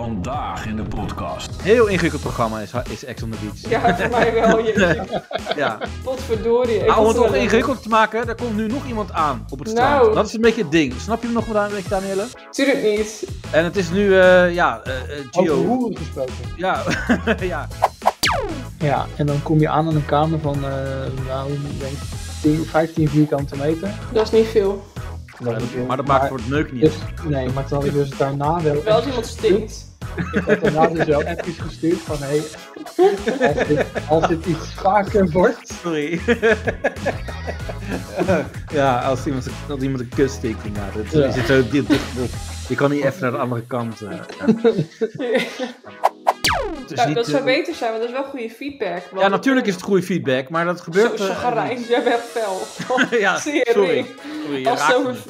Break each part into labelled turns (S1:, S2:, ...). S1: Vandaag in de podcast.
S2: Heel ingewikkeld programma is, is Ex on the Beach.
S3: Ja, voor mij wel. Je,
S2: Ja.
S3: potverdorie. Ik
S2: Ah, om
S3: was
S2: het nog
S3: wel-
S2: ingewikkeld te maken, daar komt nu nog iemand aan op het
S3: Nou.
S2: strand. Dat is een beetje het ding. Snap je hem nog, Dan- Danielle?
S3: Tuurlijk niet.
S2: En het is nu, eh, ja, eh, eh,
S4: Over
S2: Gio.
S4: hoeren gesproken.
S2: Ja, ja.
S4: Ja, en dan kom je aan aan een kamer van, eh, nou, ik denk 10, 15 vierkante meter.
S3: Dat is niet veel.
S4: Dan heb je-
S2: Maar dat maakt voor het neuk niet uit.
S4: dus, Nee, maar toen had ik dus daarna wel...
S3: Wel als iemand stinkt.
S4: Ik had daarna dus wel appjes gestuurd van, hé, hey, als, dit- als dit iets vaker wordt...
S2: Sorry. ja, als iemand, als iemand een kus steekt, ja, dat
S4: Ja.
S2: is het zo dit, dit, dit. Je kan niet even naar de andere kant. eh. Het is
S3: Nou,
S2: niet,
S3: dat zou
S2: eh,
S3: beter zijn, want dat is wel goede feedback. want-
S2: Ja, natuurlijk is het goede feedback, maar dat
S3: Zo,
S2: gebeurt... eh,
S3: chagrijn, jij bent fel.
S2: ja,
S3: Tering.
S2: sorry. sorry je
S3: Als het
S2: raakte me.
S3: over,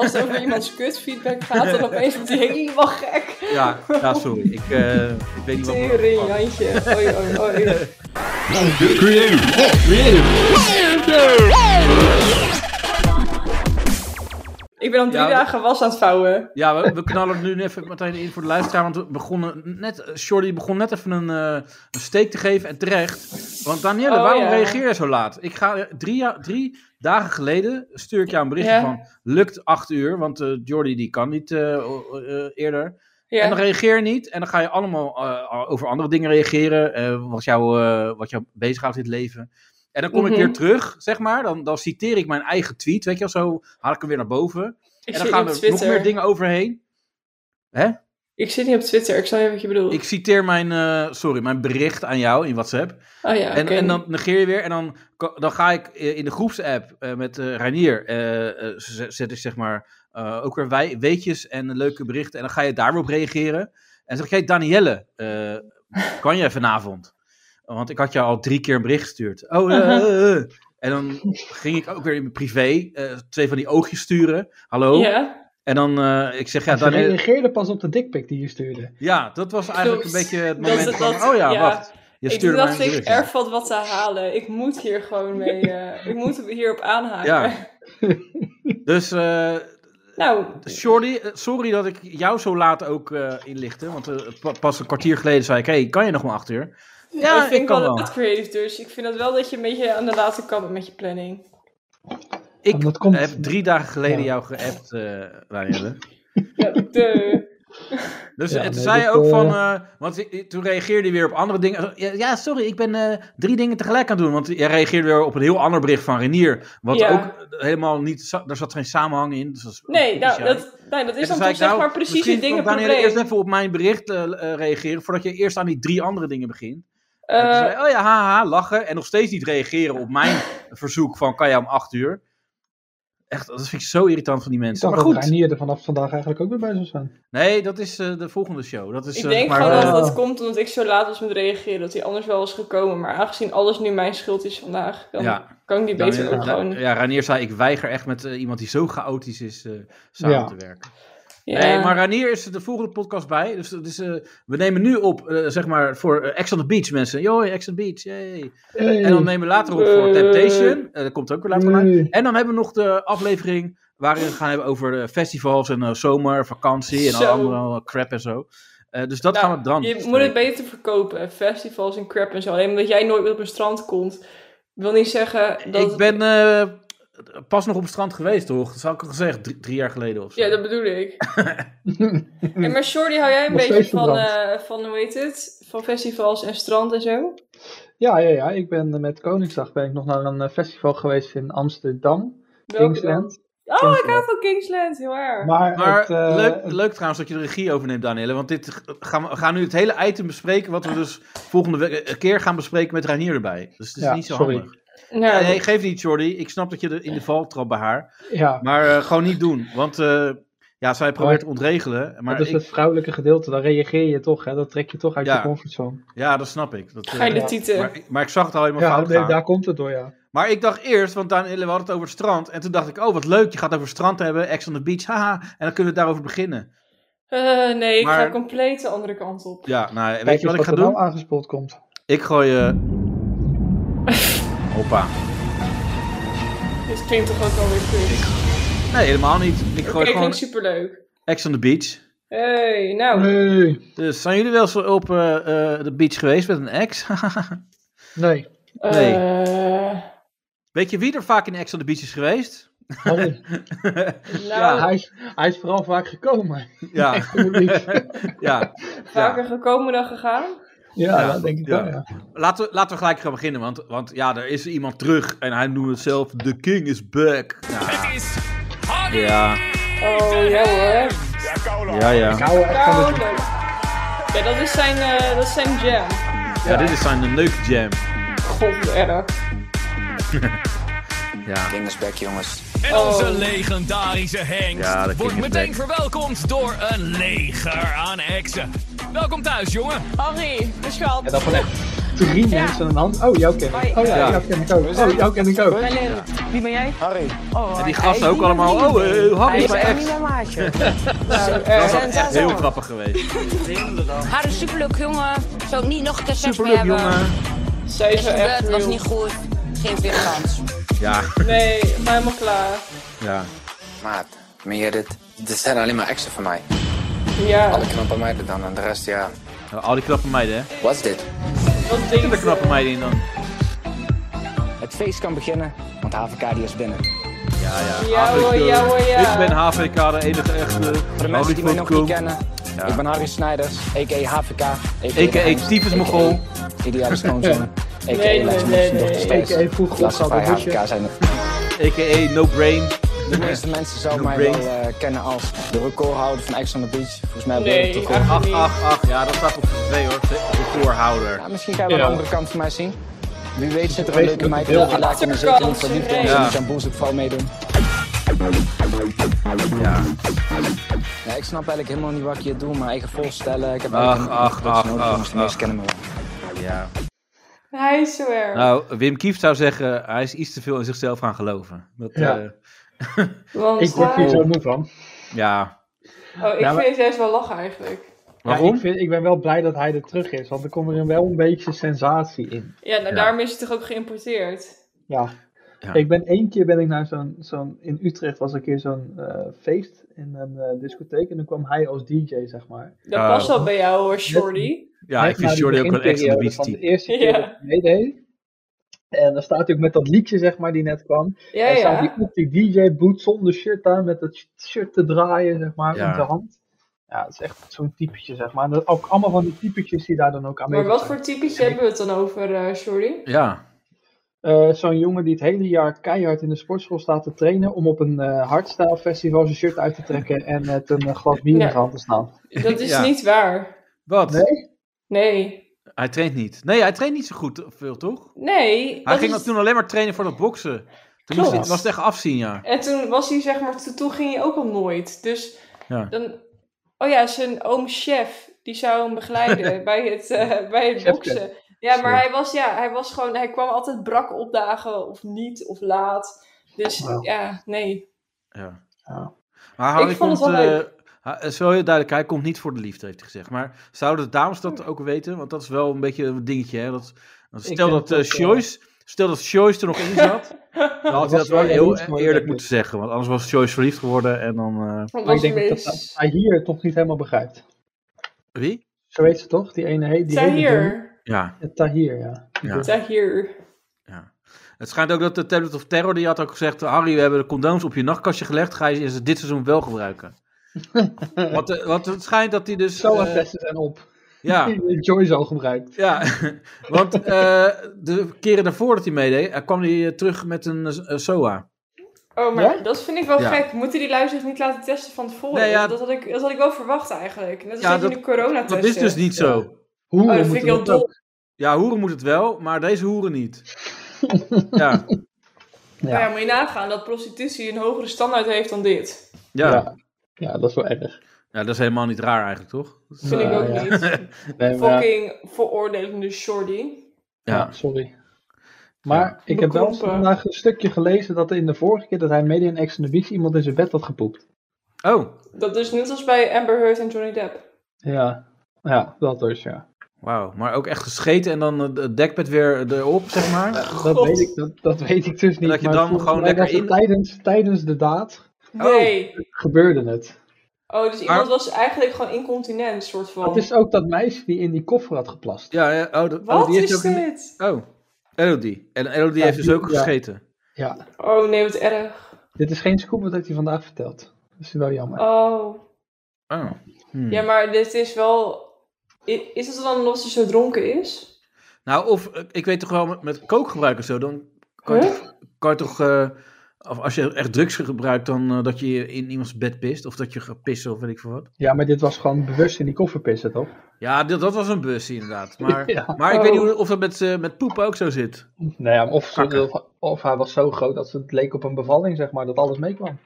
S3: als het over iemands kutfeedback gaat, dan opeens wordt hij helemaal gek.
S2: Ja, ja, sorry. Ik, eh, ik weet niet wat... me
S3: Tering,
S2: overkwam.
S3: Jantje. Oei, oei, oei.
S1: Creative.
S3: Ik ben al drie
S2: Ja,
S3: dagen was aan het vouwen.
S2: Ja, we, we knallen nu even meteen in voor de luisteraar. Want we begonnen net, Shorty begon net even een, eh, een steek te geven. En terecht. Want Danielle,
S3: Oh,
S2: waarom
S3: ja.
S2: reageer je zo laat? Ik ga eh, drie, ja- drie dagen geleden stuur ik jou een berichtje
S3: Ja.
S2: van. Lukt acht uur, want eh Jordi die kan niet eh, o- eh, eerder. En dan
S3: Ja.
S2: reageer je niet. En dan ga je allemaal eh, over andere dingen reageren. eh, wat, jou, eh, wat jou bezighoudt in het leven. En dan kom
S3: Mhm.
S2: ik weer terug, zeg maar. Dan, dan citeer ik mijn eigen tweet. Weet je wel, zo haal ik hem weer naar boven.
S3: Ik
S2: En dan
S3: zit
S2: gaan
S3: niet op
S2: er nog meer
S3: Twitter.
S2: dingen overheen.
S3: Ik zit niet op Twitter, ik snap niet wat je bedoelt.
S2: Ik citeer mijn, eh, sorry, mijn bericht aan jou in WhatsApp.
S3: Oh ja,
S2: En,
S3: oké.
S2: en dan negeer je weer. En dan, ko- dan ga ik eh, in de groepsapp eh, met eh Reinier. eh, eh, z- zet ik zeg maar eh, ook weer wij, weetjes en leuke berichten. En dan ga je daarop reageren. En dan zeg ik, hey Danielle, eh, kan jij vanavond? Want ik had jou al drie keer een bericht gestuurd. Oh, eh, eh, eh. En dan ging ik ook weer in mijn privé eh, twee van die oogjes sturen. Hallo.
S3: Ja,
S2: En dan, eh, ik zeg, ja,
S4: Ze
S2: Danielle,
S4: reageerde pas op de dikpik die je stuurde.
S2: Ja, dat was eigenlijk een
S3: Klopt.
S2: beetje het
S3: Dat-
S2: moment van,
S3: dat-
S2: oh ja,
S3: ja.
S2: wacht. Je
S3: ik
S2: stuurde
S3: dacht
S2: mij een
S3: ik
S2: berichtje.
S3: er valt wat te halen. Ik moet hier gewoon mee, eh, ik moet hierop aanhaken.
S2: Ja. Dus eh
S3: Nou,
S2: Shorty, eh, sorry dat ik jou zo laat ook eh inlichtte. Want eh, pa- pas een kwartier geleden zei ik, hey, kan je nog om acht uur? Ja,
S3: ik vind
S2: ik
S3: ik
S2: kan
S3: wel
S2: wel.
S3: wat creative dus. Ik vind dat wel dat je een beetje aan de late kant bent met je planning.
S2: Ik
S4: dat komt-
S2: heb drie dagen geleden
S4: Ja.
S2: jou geappt, eh Danielle.
S3: Ja, de...
S2: Dus
S4: Ja,
S2: eh, toen
S4: nee,
S2: zei je
S4: dat,
S2: ook
S4: eh,
S2: van, eh, want i- i- toen reageerde je weer op andere dingen. Ja, ja, sorry, ik ben eh, drie dingen tegelijk aan het doen. Want jij reageerde weer op een heel ander bericht van Renier. Wat
S3: Ja.
S2: ook eh, helemaal niet, za- daar zat geen samenhang in. Dus dat is-
S3: Nee, nou,
S2: ja.
S3: dat, nee, dat is
S2: En
S3: dan
S2: toen zei
S3: toch
S2: ik,
S3: zeg
S2: nou,
S3: maar precies je
S2: misschien
S3: dingen
S2: kan
S3: probleem.
S2: Daniel eerst even op mijn bericht eh, eh, reageren, voordat je eerst aan die drie andere dingen begint. En toen
S3: Eh,
S2: zei, hij, oh ja, haha, lachen. En nog steeds niet reageren op mijn verzoek van, kan jij om acht uur? Echt, dat vind ik zo irritant van die
S4: Ik
S2: mensen.
S4: dacht
S2: Maar
S4: dat
S2: goed,
S4: Reinier er vanaf vandaag eigenlijk ook weer bij zou zijn.
S2: nee, dat is eh, de volgende show. Dat is,
S3: ik
S2: eh,
S3: denk
S2: maar,
S3: gewoon
S2: eh,
S3: dat
S4: eh,
S3: dat komt omdat ik zo laat was met reageren. Dat hij anders wel was gekomen. Maar aangezien alles nu mijn schuld is vandaag, dan
S2: ja,
S3: kan ik die beter
S2: Ranier-
S3: ook gewoon...
S2: ja, Ranier zei, ik weiger echt met eh, iemand die zo chaotisch is eh, samen
S4: Ja.
S2: te werken.
S3: Ja.
S2: Nee, maar Ranier is er de volgende podcast bij. Dus dat is, eh, we nemen nu op, eh, zeg maar, voor eh, Ex on the Beach mensen. Yo, Ex on the Beach, hey.
S4: Hey.
S2: En dan nemen we later op voor
S3: Eh.
S2: Temptation. Eh, dat komt ook weer
S3: Hmm.
S2: later aan.
S4: Nee.
S2: En dan hebben we nog de aflevering waarin we het gaan hebben over eh, festivals en eh, zomer, vakantie en
S3: Zo.
S2: al andere crap en zo. Eh, dus dat
S3: Nou,
S2: gaan we dan.
S3: Je moet
S2: bespreken.
S3: het beter verkopen. Festivals en crap en zo. Alleen omdat jij nooit meer op een strand komt. wil niet zeggen dat...
S2: Ik ben eh, pas nog op het strand geweest, toch? Dat had ik al gezegd, drie, drie jaar geleden of zo.
S3: Ja, dat bedoel ik. en maar Shorty, hou jij een
S4: Nog
S3: beetje
S4: steeds
S3: van,
S4: verbrand.
S3: eh, van, hoe heet het? Van festivals en strand en zo?
S4: Ja, ja, ja. Ik ben eh, met Koningsdag ben ik nog naar een eh, festival geweest in Amsterdam.
S3: Welke
S4: Kingsland.
S3: dan? Oh, ik
S4: Kingsland.
S3: hou van Kingsland, heel erg.
S4: Maar,
S2: Maar
S4: het, eh,
S2: leuk, leuk trouwens dat je de regie overneemt, Danielle. Want dit g- gaan we, we gaan nu het hele item bespreken. Wat we dus volgende we- keer gaan bespreken met Reinier erbij. Dus het is
S4: Ja,
S2: niet zo
S4: sorry.
S2: handig.
S3: nou,
S2: Nee, geef niet, Jordi. Ik snap dat je er in de val trapt bij haar.
S4: ja,
S2: Maar eh, gewoon niet doen. Want eh, ja, zij probeert te ontregelen. Maar
S4: dus dat
S2: ik-
S4: is het vrouwelijke gedeelte. Daar reageer je toch, hè? Dat trek je toch uit
S2: Ja.
S4: je comfortzone.
S2: ja, dat snap ik. Dat, eh,
S3: ga je de
S4: ja,
S3: tieten.
S2: maar, ik- maar ik zag het al helemaal
S4: Ja,
S2: fout
S4: nee,
S2: gaan.
S4: daar komt het door, ja.
S2: Maar ik dacht eerst, want Danielle, we hadden het over het strand. En toen dacht ik, oh wat leuk, je gaat over het strand hebben. Ex on the beach, haha. En dan kunnen we daarover beginnen.
S3: Eh, nee, ik
S2: Maar-
S3: ga compleet de andere kant op.
S2: Ja, nou, weet
S4: Kijk
S2: je wat ik
S4: eens
S2: ga
S4: er
S2: doen?
S4: nou aangespoeld komt.
S2: Ik gooi... eh Hoppa.
S3: Dit klinkt toch ook alweer kut.
S2: Nee, helemaal niet. Ik
S3: Oké,
S2: gooi gewoon
S3: klinkt superleuk.
S2: Ex on the beach.
S3: Hey, nou.
S4: Nee.
S2: Dus zijn jullie wel eens op eh, eh, de beach geweest met een ex?
S4: Nee.
S2: Nee.
S3: eh,
S2: Weet je wie er vaak in ex on the beach is geweest?
S4: Harry,
S3: nou,
S2: Ja.
S4: hij, is, hij is vooral vaak gekomen.
S2: Ja, ja.
S3: vaker gekomen dan gegaan.
S4: ja,
S2: Ja,
S4: dat denk ik
S2: ja.
S4: wel. Ja.
S2: Laten, we, laten we gelijk gaan beginnen, want, want ja, er is iemand terug en hij noemt het zelf The King is back. Ja, ja,
S3: Oh, ja hoor.
S2: ja. ja.
S4: Ik hou echt van
S3: Nou,
S4: het...
S3: leuk. Ja, dat is zijn, eh, dat is zijn jam.
S2: Ja, dit is zijn leuk jam.
S3: God, wat erg.
S2: Ja.
S5: King is back, jongens.
S6: En
S3: Oh.
S6: onze legendarische Henk
S2: Ja, de
S6: wordt
S2: King is
S6: meteen
S2: back.
S6: verwelkomd door een leger aan heksen. Welkom thuis, jongen.
S7: Harry, mijn schat.
S4: En dan van echt drie mensen aan de hand. Oh, jou ken ik. Oh ja,
S2: Ja.
S4: jou ken ik ook. Oh, jou ken ik ook.
S7: Mijn leraar. Wie ben jij?
S5: Harry.
S7: Oh,
S2: En die
S7: hij-
S2: gasten
S7: hij
S2: ook
S7: is niet
S2: allemaal,
S7: mijn
S2: oh,
S7: vriend.
S2: eh, Harry
S7: Hij
S2: is
S7: is
S2: mijn
S7: echt
S2: ex.
S7: niet mijn maatje.
S3: Nou,
S2: Dat
S3: erg.
S2: was echt heel grappig geweest.
S8: Had een superleuk jongen. Zou ik niet nog een keer seks mee
S2: Superleuk,
S8: hebben.
S2: jongen.
S3: Zij is
S8: Het
S3: wel echt
S8: gebeurd, was
S3: real.
S8: niet goed. Geen weer kans.
S2: Ja,
S3: Nee, maar helemaal klaar.
S2: ja.
S5: Maat, meen je dit? Dit zijn alleen maar exen van mij.
S3: Ja,
S5: Alle knappe meiden dan en de rest, ja.
S2: Al die knappe meiden, hè?
S5: Wat is dit?
S3: wat denk
S2: De knappe meiden in dan.
S5: Het feest kan beginnen, want HVK die is binnen.
S2: Ja, ja.
S3: Ja,
S2: HVK.
S3: hoor, ja, hoor, ja.
S2: Ik ben HVK, de enige echte.
S5: Voor de mensen die mij nog niet kennen, ik ben Harry Snijders, a.k.a. HVK, a.k.a.
S2: A.k.a. Tyfus Mogol.
S5: Ideale Schoonzoon, a.k.a.
S3: nee,
S5: Lex
S3: nee, nee.
S4: A.k.a. vroeg opgehaald
S5: bij
S4: busje.
S5: HVK zijn er.
S2: A.k.a. No Brain.
S5: De meeste mensen zouden
S2: No
S5: mij
S2: brain.
S5: wel eh, kennen als de recordhouder van Ex on the Beach. Volgens mij hebben we
S3: Nee,
S5: het record.
S3: eigenlijk
S2: Ach,
S3: niet.
S2: ach, ach. Ja, dat staat op de twee, hoor. De voorhouder.
S5: Ja, misschien kan je wel
S4: Ja.
S5: de andere kant van mij zien. Wie weet zit er een
S4: weet
S5: leuke
S4: dat
S5: meid
S4: het heel
S5: in. Laat je me zeker niet verliefd worden.
S2: Ja.
S5: Ja. Jan Boels ook vooral meedoen.
S2: Ja.
S5: Ja, ik snap eigenlijk helemaal niet wat ik hier doe. Mijn eigen voorstellen. Ik heb
S2: Ach,
S5: eigenlijk
S2: ach,
S5: niks
S2: ach,
S5: nodig,
S2: ach,
S5: jongens. De meesten
S2: ach.
S5: kennen me wel.
S2: ja.
S3: Hij is zo erg.
S2: Nou, Wim Kieft zou zeggen, hij is iets te veel in zichzelf gaan geloven. Dat,
S4: Ja.
S2: eh,
S3: Want,
S4: Ik word
S3: hij-
S4: hier zo moe van.
S2: ja.
S3: Oh, ik
S4: Ja, maar-
S3: vind het juist wel lachen eigenlijk.
S4: Ja,
S2: Waarom?
S4: ik, vind, ik ben wel blij dat hij er terug is, want er komt er wel een beetje sensatie in.
S3: Ja, nou,
S2: Ja.
S3: daarom is het toch ook geïmporteerd?
S4: Ja.
S2: Ja.
S4: Ik ben één keer ben ik naar zo'n, zo'n in Utrecht was een keer zo'n eh, feest in een eh, discotheek en dan kwam hij als DJ zeg maar.
S3: Dat
S2: Ja.
S3: past wel bij jou hoor, Shorty.
S2: ja,
S4: Net
S2: ik vind
S4: na die
S2: Jordi ook wel echt een
S4: beginperiode
S2: beach
S4: van de
S2: type.
S4: eerste keer
S3: Ja.
S4: dat hij meedeed. En dan staat hij ook met dat liedje zeg maar die net kwam.
S3: Ja,
S4: en staat
S3: ja.
S4: die op die DJ boot zonder shirt aan met dat shirt te draaien zeg maar
S2: Ja.
S4: in zijn hand. Ja, dat is echt zo'n typetje zeg maar. En dat, ook allemaal van die typetjes die daar dan ook aan
S3: Maar wat
S4: zijn.
S3: voor typetje hebben we het dan over, eh Shorty?
S2: Ja.
S4: Eh, Zo'n jongen die het hele jaar keihard in de sportschool staat te trainen om op een eh hardstyle festival zijn shirt uit te trekken en met een eh, glas bier in zijn
S3: Ja.
S4: hand te staan.
S3: Dat is
S2: Ja.
S3: niet waar.
S2: Wat?
S4: Nee?
S3: Nee.
S2: Hij traint niet. Nee, hij traint niet zo goed veel, toch?
S3: Nee.
S2: Hij
S3: dat
S2: ging
S3: is-
S2: dat toen alleen maar trainen voor dat boksen. Toen
S3: Klopt.
S2: moest hij- was het echt afzien, ja.
S3: En toen was hij, zeg maar, toen, toen ging hij ook al nooit. Dus
S2: Ja.
S3: dan... Oh ja, zijn oom chef, die zou hem begeleiden bij het, eh, bij het
S4: Chefke.
S3: boksen. Ja, maar
S2: Zo.
S3: hij was, ja, hij was gewoon, hij kwam altijd brak opdagen of niet, of laat. Dus
S4: Wauw.
S3: ja, nee.
S2: ja.
S4: Ja.
S2: Maar Harry
S3: Ik vond het
S2: komt,
S3: wel
S2: eh,
S3: leuk.
S2: hij- het is wel heel duidelijk, hij komt niet voor de liefde, heeft hij gezegd. Maar zouden de dames dat ook weten? Want dat is wel een beetje een dingetje, hè? Dat, dat
S4: Ik
S2: stel
S4: denk
S2: dat eh
S4: dat, eh,
S2: Joyce... Stel dat Joyce er nog in zat, dan had
S4: was
S2: hij dat wel
S4: wel
S2: heel
S4: jaloers geworden, denk
S2: eerlijk
S4: ik.
S2: moeten zeggen. Want anders was Joyce verliefd geworden en dan... eh,
S3: Dat
S4: Maar
S3: was
S4: ik denk dat,
S3: mis.
S4: dat hij hier toch niet helemaal begrijpt.
S2: Wie?
S4: Zo weet ze toch? Die ene heet die hele
S3: Tahir.
S2: Ja,
S4: jongen. Eh, Tahir, ja.
S2: ja.
S3: Tahir.
S2: Ja. Het schijnt ook dat de Tablet of Terror, die had ook gezegd... eh, Harry, we hebben de condooms op je nachtkastje gelegd. Ga je ze dit seizoen wel gebruiken? want, eh, want het schijnt dat hij dus...
S4: Zo
S2: eh,
S4: testen zijn op.
S2: ja,
S4: Die Joyce al gebruikt.
S2: ja. want eh, de keren daarvoor dat hij meedeed... eh, kwam hij eh, terug met een eh, SOA.
S3: Oh, maar
S4: Ja?
S3: dat vind ik wel
S2: Ja.
S3: gek. Moeten die lui zich niet laten testen van tevoren?
S2: Nee, ja.
S3: dat, had ik, dat had ik wel verwacht eigenlijk. Net als
S2: Ja,
S3: dat je
S2: dat-
S3: de corona
S2: Dat is dus niet zo.
S4: Hoe
S3: Oh, dat vind ik heel dom.
S2: Ja, hoeren moet het wel, maar deze hoeren niet. Ja,
S4: Ja.
S3: Maar ja, moet je nagaan dat prostitutie een hogere standaard heeft dan dit.
S2: ja. ja.
S4: Ja. ja, dat is wel erg.
S2: dat is helemaal niet raar eigenlijk, toch?
S3: Vind ik
S4: Ja,
S3: ook
S4: ja.
S3: niet.
S4: Nee, maar-
S3: Fucking veroordelende shorty.
S2: Ja.
S4: Ja, sorry. Maar ik heb wel
S3: Bekrompen.
S4: vandaag een stukje gelezen dat er in de vorige keer dat hij mede in Ex on the Beach iemand in zijn bed had gepoept.
S2: Oh,
S3: Dat is net als bij Amber Heard en Johnny Depp.
S4: Ja, ja dat dus, ja.
S2: wauw. Maar ook echt gescheten en dan eh, het dekbed weer erop, zeg maar.
S4: Dat weet, ik, dat, dat weet ik dus niet.
S2: dat je
S4: maar
S2: dan
S4: volgens
S2: gewoon
S4: mij
S2: lekker
S4: was het Tijdens, tijdens de daad
S3: Nee.
S4: gebeurde het.
S3: Oh, dus iemand was eigenlijk gewoon incontinent, soort
S2: Oh.
S3: van.
S4: Het is ook dat meisje die in die koffer had geplast.
S2: Ja, ja, oh, dat- oh,
S3: Wat
S2: die heeft
S3: is
S2: ook een-
S3: dit?
S2: Oh, Elodie. En Elodie
S4: Ja,
S2: heeft dus
S4: die-
S2: ook
S4: ja.
S2: gescheten.
S4: Ja,
S3: Oh nee, wat erg.
S4: dit is geen scoop wat ik je vandaag verteld. Dat is wel jammer.
S3: Oh.
S4: Hmm.
S2: Oh.
S3: Ja, maar dit is wel... I- Is het dan omdat ze zo dronken is?
S2: Nou, of eh, ik weet toch wel, met, met coke gebruiken zo, dan kan je
S3: Huh?
S2: toch, kan je toch eh, of als je echt drugs gebruikt, dan eh, dat je in iemands bed pist, of dat je gaat pissen, of weet ik veel wat.
S4: Ja, maar dit was gewoon bewust in die koffer pissen, toch?
S2: Ja, dat, dat was een bus inderdaad. Maar,
S4: Ja.
S2: maar ik weet
S3: Oh.
S2: niet hoe- of dat met, eh, met poepen ook zo zit.
S4: Nou ja, of, ze,
S2: Kakken.
S4: of, of hij was zo groot dat het leek op een bevalling, zeg maar, dat alles meekwam.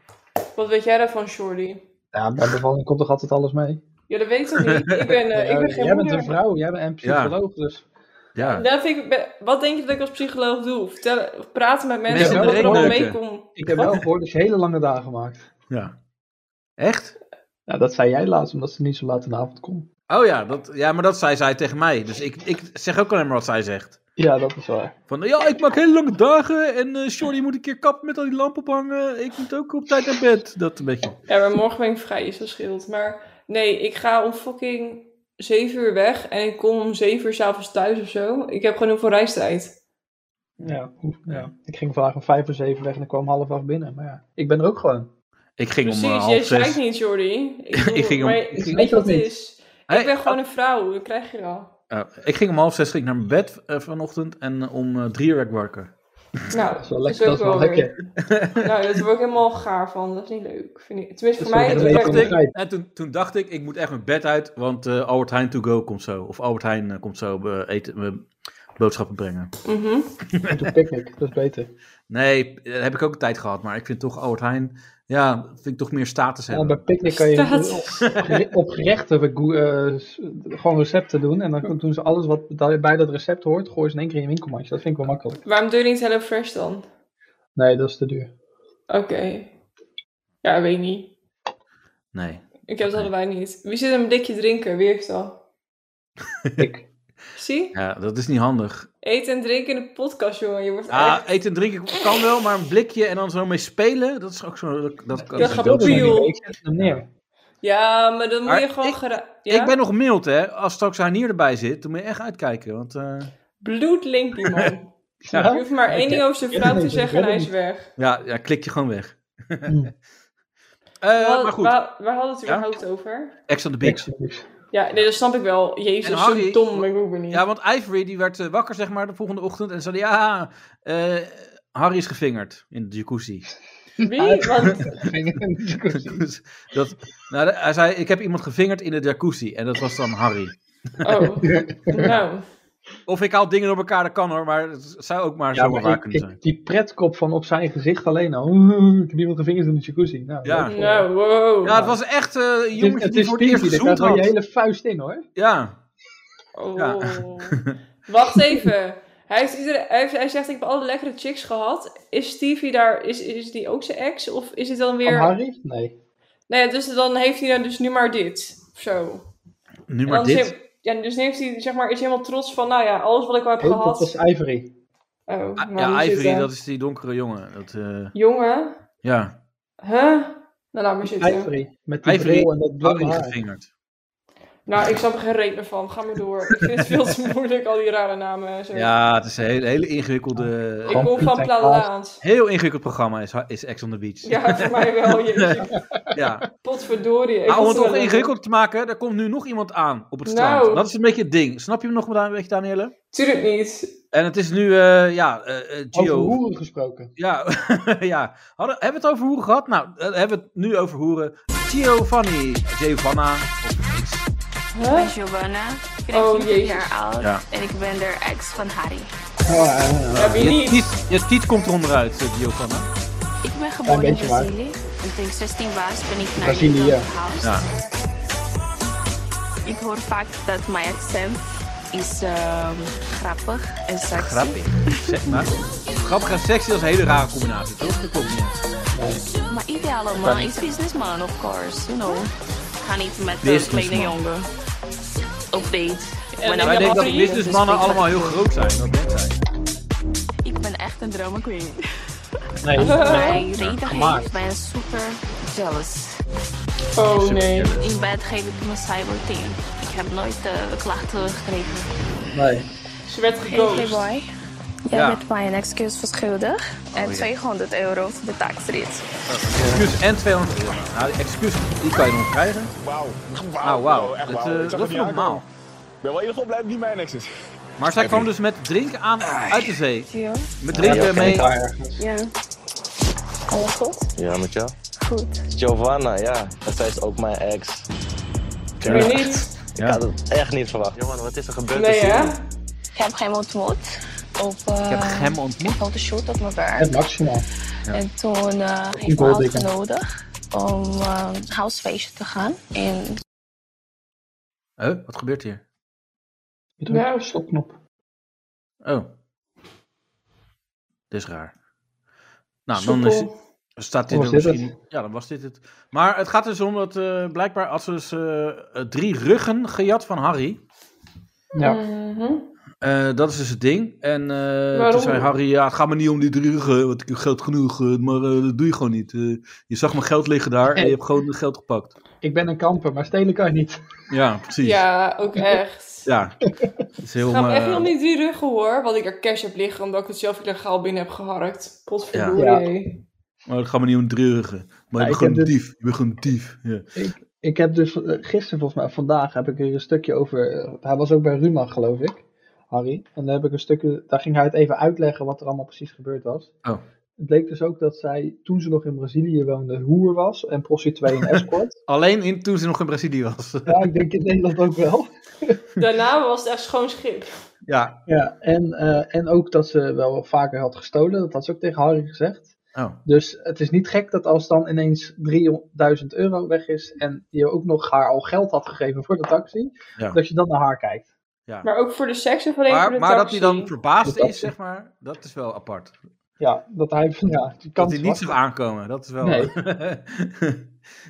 S3: Wat weet jij daarvan, Shorty?
S4: Ja, bij bevalling komt toch altijd alles mee?
S3: Ja, dat weet ik toch niet? Ik ben, eh, ik ben geen
S4: jij bent
S3: moeder.
S4: een vrouw, jij bent een psycholoog, dus...
S2: Ja.
S3: Daar vind ik, ben- wat denk je dat ik als psycholoog doe? Vertellen, of praten met mensen,
S4: Mensen
S3: dat
S4: in
S3: er
S4: de
S3: allemaal
S2: ring
S3: mee
S2: neuken.
S3: komt.
S4: Ik heb wel gehoord dat je hele lange dagen maakt.
S2: ja. Echt?
S4: Nou, dat zei jij laatst, omdat ze niet zo laat in de avond kon.
S2: Oh ja, dat, ja, maar dat zei zij tegen mij. Dus ik, ik zeg ook alleen maar wat zij zegt.
S4: Ja, dat is waar.
S2: Van, ja, ik maak hele lange dagen en eh Shorty moet een keer kappen met al die lampen ophangen. Ik moet ook op tijd naar bed. Dat een beetje.
S3: Ja, maar morgen ben ik vrij, is dat scheelt. Maar nee, ik ga om fucking 7 uur weg en ik kom om 7 uur s'avonds thuis of zo. Ik heb gewoon heel veel reistijd.
S4: Ja, oef, ja. Ik ging vandaag om vijf voor zeven weg en ik kwam half acht binnen. Maar ja, ik ben er ook gewoon.
S2: Ik ging
S3: Precies,
S2: om eh,
S3: jij
S2: half
S3: schrijft
S2: zes.
S3: niet, Jordi. Ik,
S2: Ik ging om-
S3: maar
S2: ik ging-
S3: weet je wat
S4: dat
S3: het
S4: niet.
S3: is?
S2: Hey,
S3: ik ben gewoon een vrouw, dat krijg je al.
S2: oh, ik ging om half zes ging ik naar mijn bed eh, vanochtend en eh, om eh, drie uur werd ik wakker.
S3: Nou,
S4: Dat is wel lekker. Dat is wel
S3: weer-
S4: lekker.
S3: Nou, daar word ik helemaal gaar van. Dat is niet leuk, vind ik. Tenminste,
S4: Dat
S3: voor
S4: is
S3: mij...
S2: En
S4: wel
S3: het
S2: toen
S4: leuk
S3: werkt-
S2: dacht ik,
S4: begrijp.
S2: en toen, toen dacht ik, ik moet echt mijn bed uit, want eh, Albert Heijn to go komt zo. Of Albert Heijn eh, komt zo eh, eten, eh, boodschappen brengen.
S3: Mhm.
S4: En toen picknick, dat is beter.
S2: Nee, eh, heb ik ook een tijd gehad, maar ik vind toch Albert Heijn, ja, vind ik toch meer status
S4: Ja,
S2: hebben.
S4: bij picknick kan je
S3: Staat-
S4: op gere- op gerechten we goe- eh, s- gewoon recepten doen. En dan doen ze alles wat da- bij dat recept hoort, gooien ze in één keer in je winkelmandje. Dat vind ik wel makkelijk.
S3: Waarom doe je niet HelloFresh dan?
S4: Nee, dat is te duur.
S3: Oké. Ja, weet ik niet.
S2: Nee.
S3: Ik heb het allebei niet. Wie zit een blikje drinken? Wie heeft dat?
S4: Ik.
S3: Zie?
S2: Ja, dat is niet handig.
S3: Eten en drinken in de podcast, jongen. Je wordt
S2: Ja,
S3: echt...
S2: eten en drinken kan wel, maar een blikje en dan zo mee spelen, dat is ook zo... Dat, dat kan
S3: Ja,
S2: zo
S3: ga
S2: dood
S3: op,
S2: zijn.
S3: joh.
S4: Ik zet hem neer.
S3: Ja, maar dan moet
S2: Maar
S3: je gewoon...
S2: ik-
S3: gera-
S2: Ik
S3: ja?
S2: ben nog mild, hè. Als straks Hanier erbij zit, dan moet je echt uitkijken, want... eh,
S3: Bloedlink, die man.
S4: Ja.
S3: Je hoeft maar één ding over zijn
S4: Ik
S3: vrouw
S4: weet
S3: te
S4: het niet,
S3: zeggen
S4: ik
S3: en hij
S4: weet
S3: is
S4: het
S3: weg.
S2: Ja, ja klik je gewoon weg.
S4: Hmm.
S2: Eh,
S3: Waar-
S2: maar goed,
S3: Waar, waar hadden we het
S2: Ja?
S3: überhaupt over?
S2: Ex on the Beach.
S4: Niks, niks.
S3: Ja, nee, dat snap ik wel. Jezus,
S2: En
S3: zo
S2: Harry-
S3: dom. maar Ik hoef het niet.
S2: Ja, want Ivory die werd eh, wakker zeg maar de volgende ochtend en zei ja, eh, Harry is gevingerd in de jacuzzi.
S3: Wie? Want,
S2: Dus dat, nou, hij zei ik heb iemand gevingerd in de jacuzzi en dat was dan Harry.
S3: oh. Nou.
S2: Of ik haal dingen door elkaar, dat kan hoor, maar het zou ook maar
S4: Ja,
S2: zomaar
S4: maar
S2: waar
S4: ik,
S2: kunnen zijn.
S4: ik, die pretkop van op zijn gezicht alleen al. Oeh, Ik heb iemand de vingers in de jacuzzi. Nou,
S2: Ja.
S4: leuk voor hem.
S3: Nou, wow.
S2: Ja, het was echt eh, een
S4: Het is-
S2: jongetje
S4: het
S2: die
S4: is
S2: voor het eerst
S4: Pinky, daar
S2: gezoend
S4: krijg je wel je
S2: had.
S4: hele vuist in hoor.
S2: Ja,
S3: Oh.
S2: Ja.
S3: Wacht even. Hij, heeft iedere, hij, heeft- hij zegt, ik heb alle lekkere chicks gehad. Is Stevie daar, is, is die ook zijn ex? Of is het dan
S4: Van
S3: weer...
S4: Harry? Nee.
S3: Nee, dus dan heeft hij dan dus nu maar dit. Of zo.
S2: nu
S3: En
S2: maar
S3: dan
S2: dit.
S3: is hij- ja, dus nu heeft hij, zeg maar, is hij helemaal trots van, nou ja, alles wat ik al heb
S4: Oh, dat
S3: gehad.
S4: was Ivory.
S3: Oh, nou,
S2: Ah, ja,
S3: hier
S2: Ivory,
S3: zitten.
S2: dat is die donkere jongen. Dat, eh,
S3: Jongen?
S2: ja,
S3: Huh? Nou, laat maar zitten.
S4: Ivory. Met die
S2: Ivory,
S4: bril en dat blonde
S2: Harry
S4: haar.
S2: gevingerd.
S3: Nou, ik snap er geen reet meer van. Ga maar door. Ik vind het veel te moeilijk, al die rare namen. en Zo.
S2: Ja, het is een hele, hele ingewikkelde...
S3: ik kom van
S4: Gewoon-
S3: Plataans.
S2: Heel ingewikkeld programma is, is Ex on the Beach. Ja.
S3: Ja, voor mij wel. Jeetje. Potverdorie. Ik
S2: Maar om
S3: was
S2: het
S3: er
S2: nog
S3: wel in.
S2: ingewikkeld te maken, daar komt nu nog iemand aan op het
S3: Nou.
S2: strand. Dat is een beetje het ding. Snap je hem nog een beetje, Danielle?
S3: Tuurlijk niet.
S2: En het is nu, eh, ja, eh, eh,
S4: Over
S2: Gio.
S4: hoeren gesproken.
S2: Ja, ja. Hadden, hebben we het over hoeren gehad? Nou, eh, hebben we het nu over hoeren. Giovanni, Giovanna, of iets.
S8: Ik
S3: Huh?
S8: ben Giovanna, ik ben
S3: Oh,
S8: 21
S3: jezus.
S8: jaar oud
S2: Ja.
S8: en ik ben de ex van Harry.
S3: Ja, wie
S2: Je
S3: niet?
S2: tiet, je tiet komt eronder uit, eh, Giovanna.
S8: Ik ben geboren in
S4: beetje waar.
S8: Brazilië en toen ik 16 was ben ik naar
S4: Brazilië.
S8: Nederland verhuisd.
S2: Ja.
S8: Ik hoor vaak dat mijn accent is ehm, grappig en sexy.
S2: Grappig. Zeg maar. Grappig en sexy, dat is een hele rare combinatie, toch? Dat klopt niet.
S8: Maar ideale man is businessman, of course, you know. Ga niet met een
S2: Businessman.
S8: kleine jongen op date. Maar
S3: dan
S8: dan
S2: Wij
S3: Ja,
S2: denken dat
S3: maar-
S2: businessmannen allemaal heel groot zijn. Dat denkt zij.
S8: Ik ben echt een drama queen.
S4: Nee.
S8: Mijn reden heeft, ben super jealous.
S3: Oh nee.
S8: In bed geef ik mijn cyber 10. Ik heb nooit eh, klachten gekregen.
S2: Nee.
S3: Ze werd geghost.
S8: Jij
S2: Ja.
S8: bent mij een excuus verschuldigd.
S9: Oh,
S8: En 200 euro voor de taxrit.
S2: Excuus en 200 euro. Nou, die excuus, die kan je nog krijgen.
S10: Wauw.
S2: Nou, wauw.
S10: Oh, Echt
S2: Het,
S10: wauw.
S2: eh,
S10: Ik zag
S2: dat
S10: het
S2: is
S10: niet aankomen.
S2: normaal.
S10: Ik ben wel in ieder geval blij dat het niet mijn ex is.
S2: Maar zij kwam dus met drinken aan uit de zee.
S8: Ja.
S2: Met drinken mee.
S8: Ja. Alles goed?
S9: Ja, met jou?
S8: Goed.
S9: Giovanna, ja. En zij is ook mijn ex.
S3: Weer niet.
S9: Ik had het echt niet verwacht. Jongen, wat is er gebeurd?
S3: Nee hè?
S8: Ik heb hem ontmoet op
S2: Ik heb
S8: eh
S2: hem ontmoet.
S8: een shoot op mijn werk.
S4: Het maximaal.
S8: En toen eh heeft hij
S4: Equal
S8: me
S4: dikke.
S8: uitgenodigd om eh, een housefeestje te gaan. En
S2: Huh? Eh, Wat gebeurt hier?
S4: Je drukt
S3: Nou.
S4: op stopknop.
S2: Oh. Dit is raar. Nou, dan
S3: Soepel.
S2: is, staat dit
S4: Was
S2: er
S4: dit
S2: misschien... Ja, dan was dit het. Maar het gaat dus om dat eh, blijkbaar had ze dus eh, eh, drie ruggen gejat van Harry.
S4: Ja.
S3: Mhm.
S2: Eh, dat is dus het ding. En eh, toen
S3: Waarom?
S2: zei Harry, ja, het gaat me niet om die drie ruggen, want ik heb geld genoeg, eh, maar eh, dat doe je gewoon niet. Eh, je zag mijn geld liggen daar en je hebt gewoon het geld gepakt.
S4: Ik ben een kamper, maar stelen kan je niet.
S2: Ja, precies.
S3: Ja, ook echt.
S2: Ja. Het is heel...
S3: Ik ga
S2: eh,
S3: echt nog niet die ruggen hoor, want ik er cash heb liggen omdat ik het zelf illegaal binnen heb geharkt. Potverdorie.
S4: Ja.
S2: Maar het gaat me niet om drie ruggen. Maar je
S4: ik
S2: bent gewoon
S4: heb
S2: een
S4: dit-
S2: dief. Je bent gewoon een dief. Ja.
S4: Ik heb dus eh, gisteren, volgens mij, of vandaag, heb ik er een stukje over. eh, hij was ook bij Ruma, geloof ik, Harry. En daar heb ik een stukje. Daar ging hij het even uitleggen wat er allemaal precies gebeurd was.
S2: Oh.
S4: Het bleek dus ook dat zij, toen ze nog in Brazilië woonde, hoer was en prostituee en escort.
S2: Alleen in, toen ze nog in Brazilië was.
S4: ja, ik denk in Nederland ook wel.
S3: Daarna was het echt schoon schip.
S2: ja.
S4: Ja, en, eh, en ook dat ze wel vaker had gestolen. Dat had ze ook tegen Harry gezegd.
S2: Oh.
S4: Dus het is niet gek dat als dan ineens 3000 euro weg is en je ook nog haar al geld had gegeven voor de taxi,
S2: Ja.
S4: dat je dan naar haar kijkt.
S3: Maar ook voor de seks of alleen voor de
S2: Maar, maar dat hij dan
S3: taxi?
S2: verbaasd
S4: De taxi.
S2: is, zeg maar, dat is wel apart.
S4: Ja, dat hij, ja, die
S2: Dat
S4: kans
S2: hij niet
S4: was
S2: zag
S4: er.
S2: aankomen, dat is wel...
S4: Nee.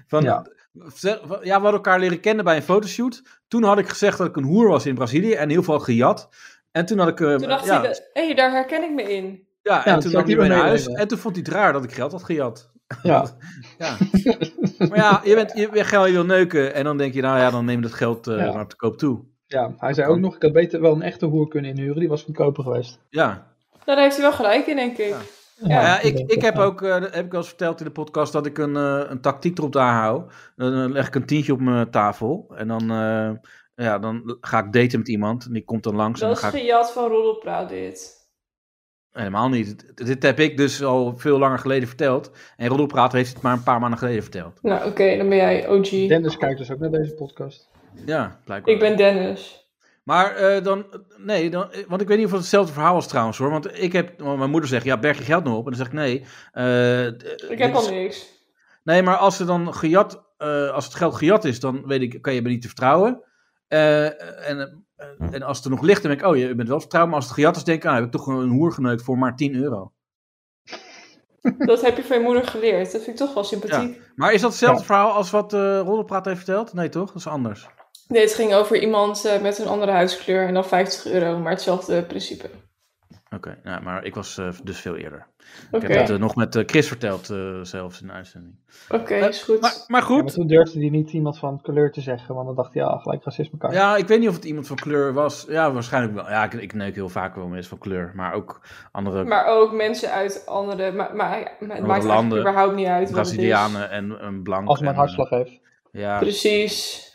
S2: van,
S4: Ja.
S2: zeg- van- ja, we hadden elkaar leren kennen bij een fotoshoot. Toen had ik gezegd dat ik een hoer was in Brazilië en heel veel gejat. En toen had ik... eh,
S3: Toen dacht
S2: ja,
S3: hij, dat- hé, daar herken ik me in.
S2: ja,
S4: Ja,
S2: en
S4: dat
S2: toen
S4: zou
S2: nam hij
S4: ik niet
S2: mee naar
S4: meer
S2: huis.
S4: meenemen.
S2: En toen vond hij het raar dat ik geld had gejat.
S4: Ja.
S2: Ja. maar ja, je, bent, je, je, je wil neuken en dan denk je, nou ja, dan neem dat geld eh,
S4: Ja.
S2: maar te koop toe.
S4: ja, hij zei ook nog, ik had beter wel een echte hoer kunnen inhuren, die was goedkoper geweest.
S2: Ja,
S3: Nou, daar heeft hij wel gelijk in, denk ik.
S2: Ja.
S3: Ja,
S2: Ja, ik, ik heb ook, eh, dat heb ik al eens verteld in de podcast, dat ik een, eh, een tactiek erop daar hou. Dan eh, leg ik een tientje op mijn tafel en dan, eh, ja, dan ga ik daten met iemand en die komt dan langs. En
S3: Dat
S2: dan
S3: is
S2: ga ik,
S3: gejat van roddelpraat, dit.
S2: helemaal niet. Dit- Dit heb ik dus al veel langer geleden verteld. En Roddelpraat heeft het maar een paar maanden geleden verteld.
S3: Nou, oké, dan ben jij OG.
S4: Dennis kijkt dus ook naar deze podcast.
S2: Ja, blijkbaar.
S3: Ik ben Dennis.
S2: Maar eh, dan, nee, dan, eh, want ik weet niet of het hetzelfde verhaal is trouwens hoor. Want ik heb, want mijn moeder zegt, ja, berg je geld nog op. En dan zeg ik, nee. eh, d-
S3: Ik
S2: dit
S3: heb
S2: is-
S3: al niks.
S2: Nee, maar als, er dan gejat, eh, als het geld gejat is, dan weet ik, kan je me niet te vertrouwen. Eh, en, eh, en als het er nog ligt, dan denk ik, oh, je bent wel te vertrouwen. Maar als het gejat is, denk ik, ah, heb ik toch een hoer geneukt voor maar 10 euro.
S3: Dat heb je van je moeder geleerd. Dat vind ik toch wel sympathiek.
S2: Maar is dat hetzelfde verhaal als wat eh Roddelpraat heeft verteld? Nee, toch? Dat is anders.
S3: Nee, het ging over iemand eh, met een andere huidskleur en dan 50 euro, maar hetzelfde principe.
S2: Oké, nou, maar ik was eh, dus veel eerder.
S3: Oké,
S2: Ik heb het eh, nog met eh, Chris verteld, eh, zelfs in de uitzending.
S3: oké, is goed.
S2: Maar, maar
S4: Ja, maar
S2: goed,
S4: toen durfde hij niet iemand van kleur te zeggen, want dan dacht hij, ja, gelijk racisme kaart.
S2: Ja, ik weet niet of het iemand van kleur was. Ja, waarschijnlijk wel. Ja, ik, ik neuk heel vaak wel mensen van kleur. Maar ook andere
S3: Maar ook mensen uit andere... Maar, maar, maar het maakt eigenlijk
S2: landen,
S3: überhaupt niet uit wat het is.
S2: Brazilianen en en blank.
S4: Als hij maar
S2: en,
S4: een hartslag heeft.
S2: eh, Ja.
S3: Precies.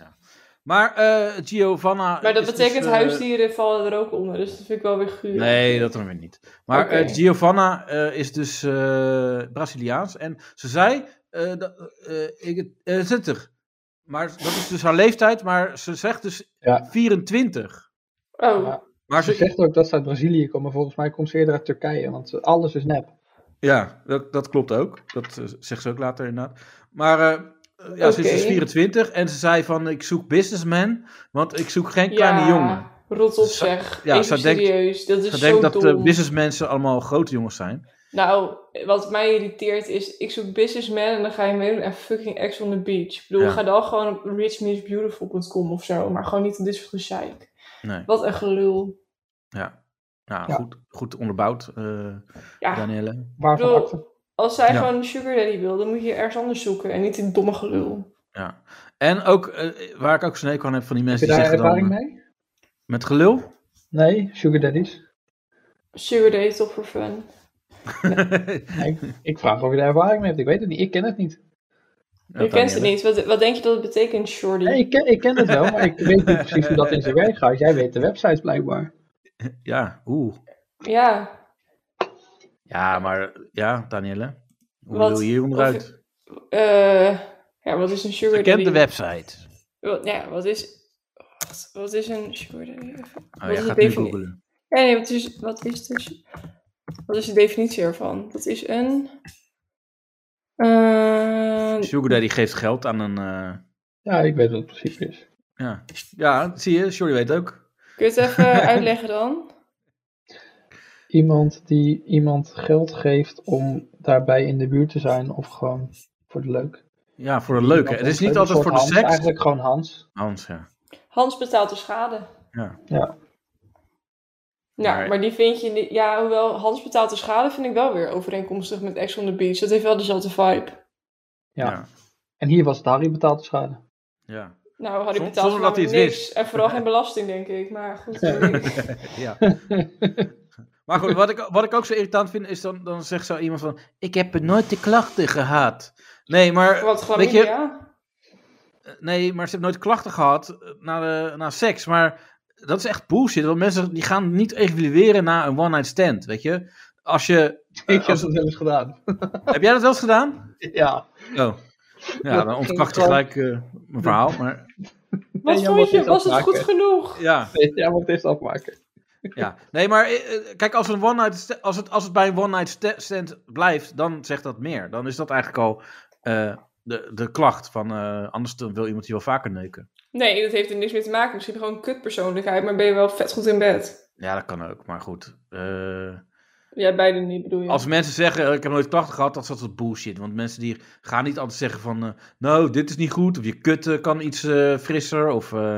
S2: Maar eh Giovanna...
S3: Maar dat
S2: is dus,
S3: betekent
S2: eh,
S3: huisdieren vallen er ook onder, dus dat vind ik wel weer guur.
S2: Nee, dat dan weer niet. Maar
S3: Oké.
S2: eh, Giovanna eh, is dus eh, Braziliaans. En ze zei... eh dat, eh, ik, het- eh, zit er. Maar dat is dus haar leeftijd. Maar ze zegt dus
S4: Ja.
S2: 24.
S3: Oh,
S4: Ja.
S2: Maar
S4: Ze
S2: ze,
S4: zegt ook dat ze uit Brazilië komt, maar volgens mij komt ze eerder uit Turkije, want ze- alles is nep.
S2: Ja, dat, dat klopt ook. Dat eh, zegt ze ook later inderdaad. Maar eh, ja, ze is dus
S3: Oké.
S2: 24 en ze zei van ik zoek businessman, want ik zoek geen kleine
S3: ja,
S2: jongen.
S3: Rot op
S2: Ze-
S3: zeg.
S2: ja,
S3: Even
S2: ze denkt-
S3: serieus. dat is
S2: Ze
S3: zo
S2: denkt dat
S3: dom.
S2: eh, businessmensen allemaal grote jongens zijn.
S3: Nou, wat mij irriteert is, ik zoek businessman en dan ga je meedoen en fucking ex on the beach. Ik bedoel,
S2: Ja.
S3: ga dan gewoon op richmeesbeautiful.com of zo, maar gewoon niet op dit soort gezeik.
S2: Nee,
S3: Wat een gelul.
S2: ja. Nou,
S4: Ja.
S2: Goed, goed onderbouwd, eh
S3: Ja, ik
S2: Danielle.
S4: Waarvan
S3: bedoel,
S4: acte?
S3: als zij
S2: Ja.
S3: gewoon een sugar daddy wil, dan moet je ergens anders zoeken en niet dit domme gelul.
S2: Ja. En ook, eh, waar ik ook snee kan heb van die
S4: Heb je
S2: mensen die
S4: daar
S2: zeggen dan... eh,
S4: ervaring mee?
S2: Met gelul?
S4: Nee, Sugar Daddies.
S3: Sugar Date toch voor fun.
S2: Nou,
S4: Nee, ik- ik vraag of je daar ervaring mee hebt. Ik weet het niet. Ik ken het niet.
S2: Ja,
S3: Je
S2: kan
S3: kent het niet. Wat, wat denk je dat het betekent, Shorty?
S4: Nee, ik ken, ik ken het wel, maar ik weet niet precies hoe dat in zijn werk gaat. Jij weet de websites blijkbaar.
S2: Ja, oeh.
S3: Ja.
S2: Ja, maar ja, Danielle. Hoe
S3: Wat?
S2: wil je hier
S3: Of-
S2: onderuit?
S3: eh, ja, wat is een sugar daddy?
S2: Ken de website.
S3: Wat, nou ja, wat is... wacht, Wat is een sugar daddy?
S2: Oh,
S3: Wat
S2: jij
S3: is
S2: gaat
S3: de
S2: nu
S3: defini-
S2: googelen.
S3: Ja, nee, wat is, wat is de, wat is de definitie ervan? Dat is een... eh,
S2: Sugar Daddy geeft geld aan een... eh,
S4: Ja, ik weet wat het precies is.
S2: ja. ja, zie je, Shorty weet ook.
S3: kun je het even uitleggen dan?
S4: Iemand die iemand geld geeft om daarbij in de buurt te zijn of gewoon voor de leuk.
S2: Ja, voor de leuke. Het is
S4: Iemand ontgeeft,
S2: niet
S4: een
S2: altijd
S4: soort
S2: voor de
S4: Hans,
S2: seks.
S4: Eigenlijk gewoon Hans.
S2: Hans, ja.
S3: Hans betaalt de schade.
S2: Ja.
S4: Ja.
S3: Nou,
S2: Maar-
S3: maar, die vind je... niet- Ja, hoewel Hans betaalt de schade vind ik wel weer overeenkomstig met Ex on the Beach. Dat heeft wel dezelfde vibe.
S4: Ja.
S2: Ja.
S4: En hier was het Harry betaald de schade.
S2: ja.
S3: Nou, had ik
S2: Zonder-
S3: betaald
S2: zonder dat hij
S3: voor
S2: het
S3: niks.
S2: wist.
S3: En vooral geen belasting, denk ik. Maar goed.
S2: Ja. maar goed, wat ik, wat ik ook zo irritant vind, is dan, dan zegt zo iemand van... Ik heb nooit de klachten gehad. Nee, maar...
S3: Wat
S2: Weet je-
S3: chlamydia?
S2: Nee, maar ze hebben nooit klachten gehad eh, na, de, na seks. Maar dat is echt bullshit. Want mensen die gaan niet evalueren na een one-night stand, weet je. Als je... eh,
S4: Ik heb
S2: als-
S4: dat wel eens gedaan.
S2: heb jij dat wel eens gedaan?
S4: Ja.
S2: Oh. Ja, dan ontkracht je gelijk eh, mijn verhaal. Maar
S3: Wat
S4: Jan
S3: vond
S4: mocht
S3: je?
S4: dit
S3: Was het
S4: afmaken.
S3: goed genoeg?
S2: ja,
S4: Nee, jij moet eerst afmaken.
S2: ja. Nee, maar eh, eh, kijk, als, een one night sta- als, het, als het bij een one-night sta- stand blijft, dan zegt dat meer. Dan is dat eigenlijk al eh, de, de klacht van... eh, anders dan wil iemand die wel vaker neuken.
S3: Nee, dat heeft er niks mee te maken. Misschien gewoon een kutpersoonlijkheid, maar ben je wel vet goed in bed.
S2: Ja, dat kan ook, maar goed. Eh...
S3: Ja, beide niet bedoel je.
S2: Als mensen zeggen, eh, ik heb nooit klachten gehad, dat is altijd bullshit. Want mensen die gaan niet altijd zeggen van, eh, nou, dit is niet goed. Of je kut eh, kan iets eh, frisser. Of, eh,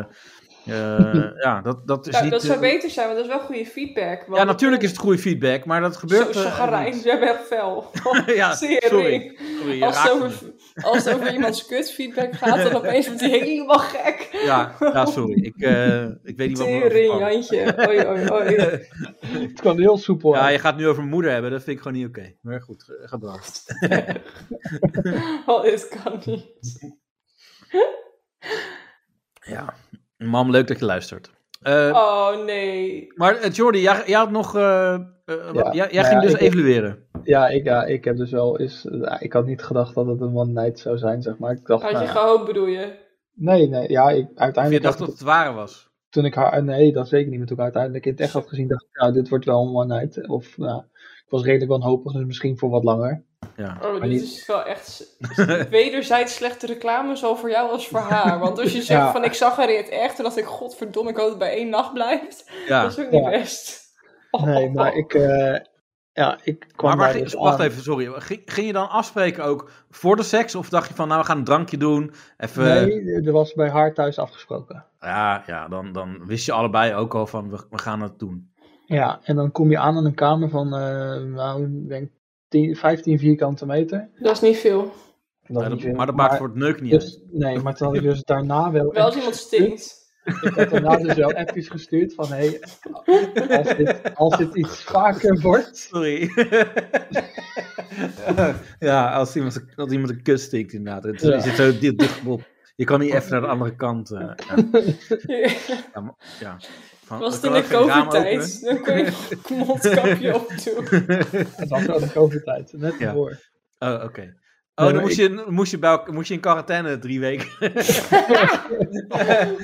S2: eh, ja, dat, dat is
S3: Nou,
S2: niet...
S3: dat zou
S2: eh,
S3: beter zijn, want dat is wel goede feedback. Want
S2: ja, natuurlijk is het goede feedback, maar dat
S3: Zo,
S2: gebeurt...
S3: zo
S2: eh,
S3: chagrijn,
S2: niet.
S3: jij bent fel.
S2: ja,
S3: Sering.
S2: sorry. sorry je
S3: Als
S2: raakt
S3: het,
S2: me.
S3: over, als het over iemands kutfeedback gaat, dan opeens wordt hij helemaal gek.
S2: Ja, ja, sorry. Ik, eh, ik weet niet wat me
S3: Tering,
S2: overkwam.
S3: Jantje. Oei, oei, oei.
S4: Het kwam heel soepel.
S2: Ja,
S4: uit.
S2: je gaat het nu over mijn moeder hebben, dat vind ik gewoon niet oké. Maar goed, eh, ga door.
S3: Al is het Oh, kan niet.
S2: Ja. Mam, leuk dat je luistert. Eh,
S3: Oh, nee.
S2: Maar eh, Jordi, jij, jij had nog... eh, eh, wat- jij
S4: Ja,
S2: jij
S4: nou
S2: ging
S4: ja,
S2: dus
S4: ik-
S2: evalueren.
S4: Ja, ik, ja, ik heb dus wel eens. ja, ik had niet gedacht dat het een one night zou zijn, zeg maar. Ik dacht,
S3: Had
S4: nou
S3: je
S4: ja.
S3: gehoopt, bedoel je?
S4: nee, nee, ja, ik,
S2: Of je
S4: uiteindelijk.
S2: dacht
S4: had
S2: dat
S4: ik-
S2: het ware was.
S4: toen ik haar, nee, dat zeker niet. Maar toen ik haar uiteindelijk in het echt had gezien, dacht ik, nou, dit wordt wel een one night. Of, nou, ik was redelijk wanhopig, dus misschien voor wat langer.
S2: Ja.
S3: Oh, dit
S4: niet-
S3: is wel echt s- wederzijds slechte reclame, zowel voor jou als voor haar. Want als je zegt
S4: Ja.
S3: van ik zag haar in het echt, toen dacht ik, godverdomme, ik hoop dat het bij één nacht blijft. Dat
S2: Ja.
S3: is ook niet
S4: Ja.
S3: best. Oh,
S4: Nee,
S3: oh,
S4: maar
S3: oh.
S4: ik, eh, ja, ik kwam
S2: Maar waar
S4: daar
S2: ging-
S4: dus
S2: wacht
S4: aan.
S2: even, sorry. Ging, ging je dan afspreken ook voor de seks? Of dacht je van, nou, we gaan een drankje doen? Even, eh.
S4: Nee, er was bij haar thuis afgesproken.
S2: Ja, ja dan, dan wist je allebei ook al van, we, we gaan het doen.
S4: Ja, en dan kom je aan in een kamer van, eh, nou, ik denk 10, 15 vierkante meter.
S3: Dat is niet veel.
S4: Dat
S2: Ja,
S4: is
S2: dat-
S4: niet veel,
S2: maar dat maakt voor het neuk niet uit.
S4: Dus, nee, maar toen had ik dus daarna wel.
S3: Wel als iemand stinkt.
S4: Ik had daarna dus wel appjes gestuurd van hé, hey, als, dit, als dit iets vaker wordt.
S2: Sorry. ja, als iemand, als iemand een kus stikt inderdaad. Het,
S4: Ja.
S2: Je zit zo dit dichtbop. Je kan niet even naar de andere kant. eh, ja. Ja, maar- ja. Van,
S3: Was het
S2: we
S3: in
S2: kunnen ook
S3: de
S2: geen raam openen.
S3: COVID-tijd? Dan kon je nog een mondkapje op doen.
S4: Het was wel de COVID-tijd, net
S2: Ja.
S4: ervoor.
S2: Oh, oké.
S4: maar
S2: Oh, dan moest,
S4: ik-
S2: je, moest, je bij, elk- moest je in quarantaine drie weken.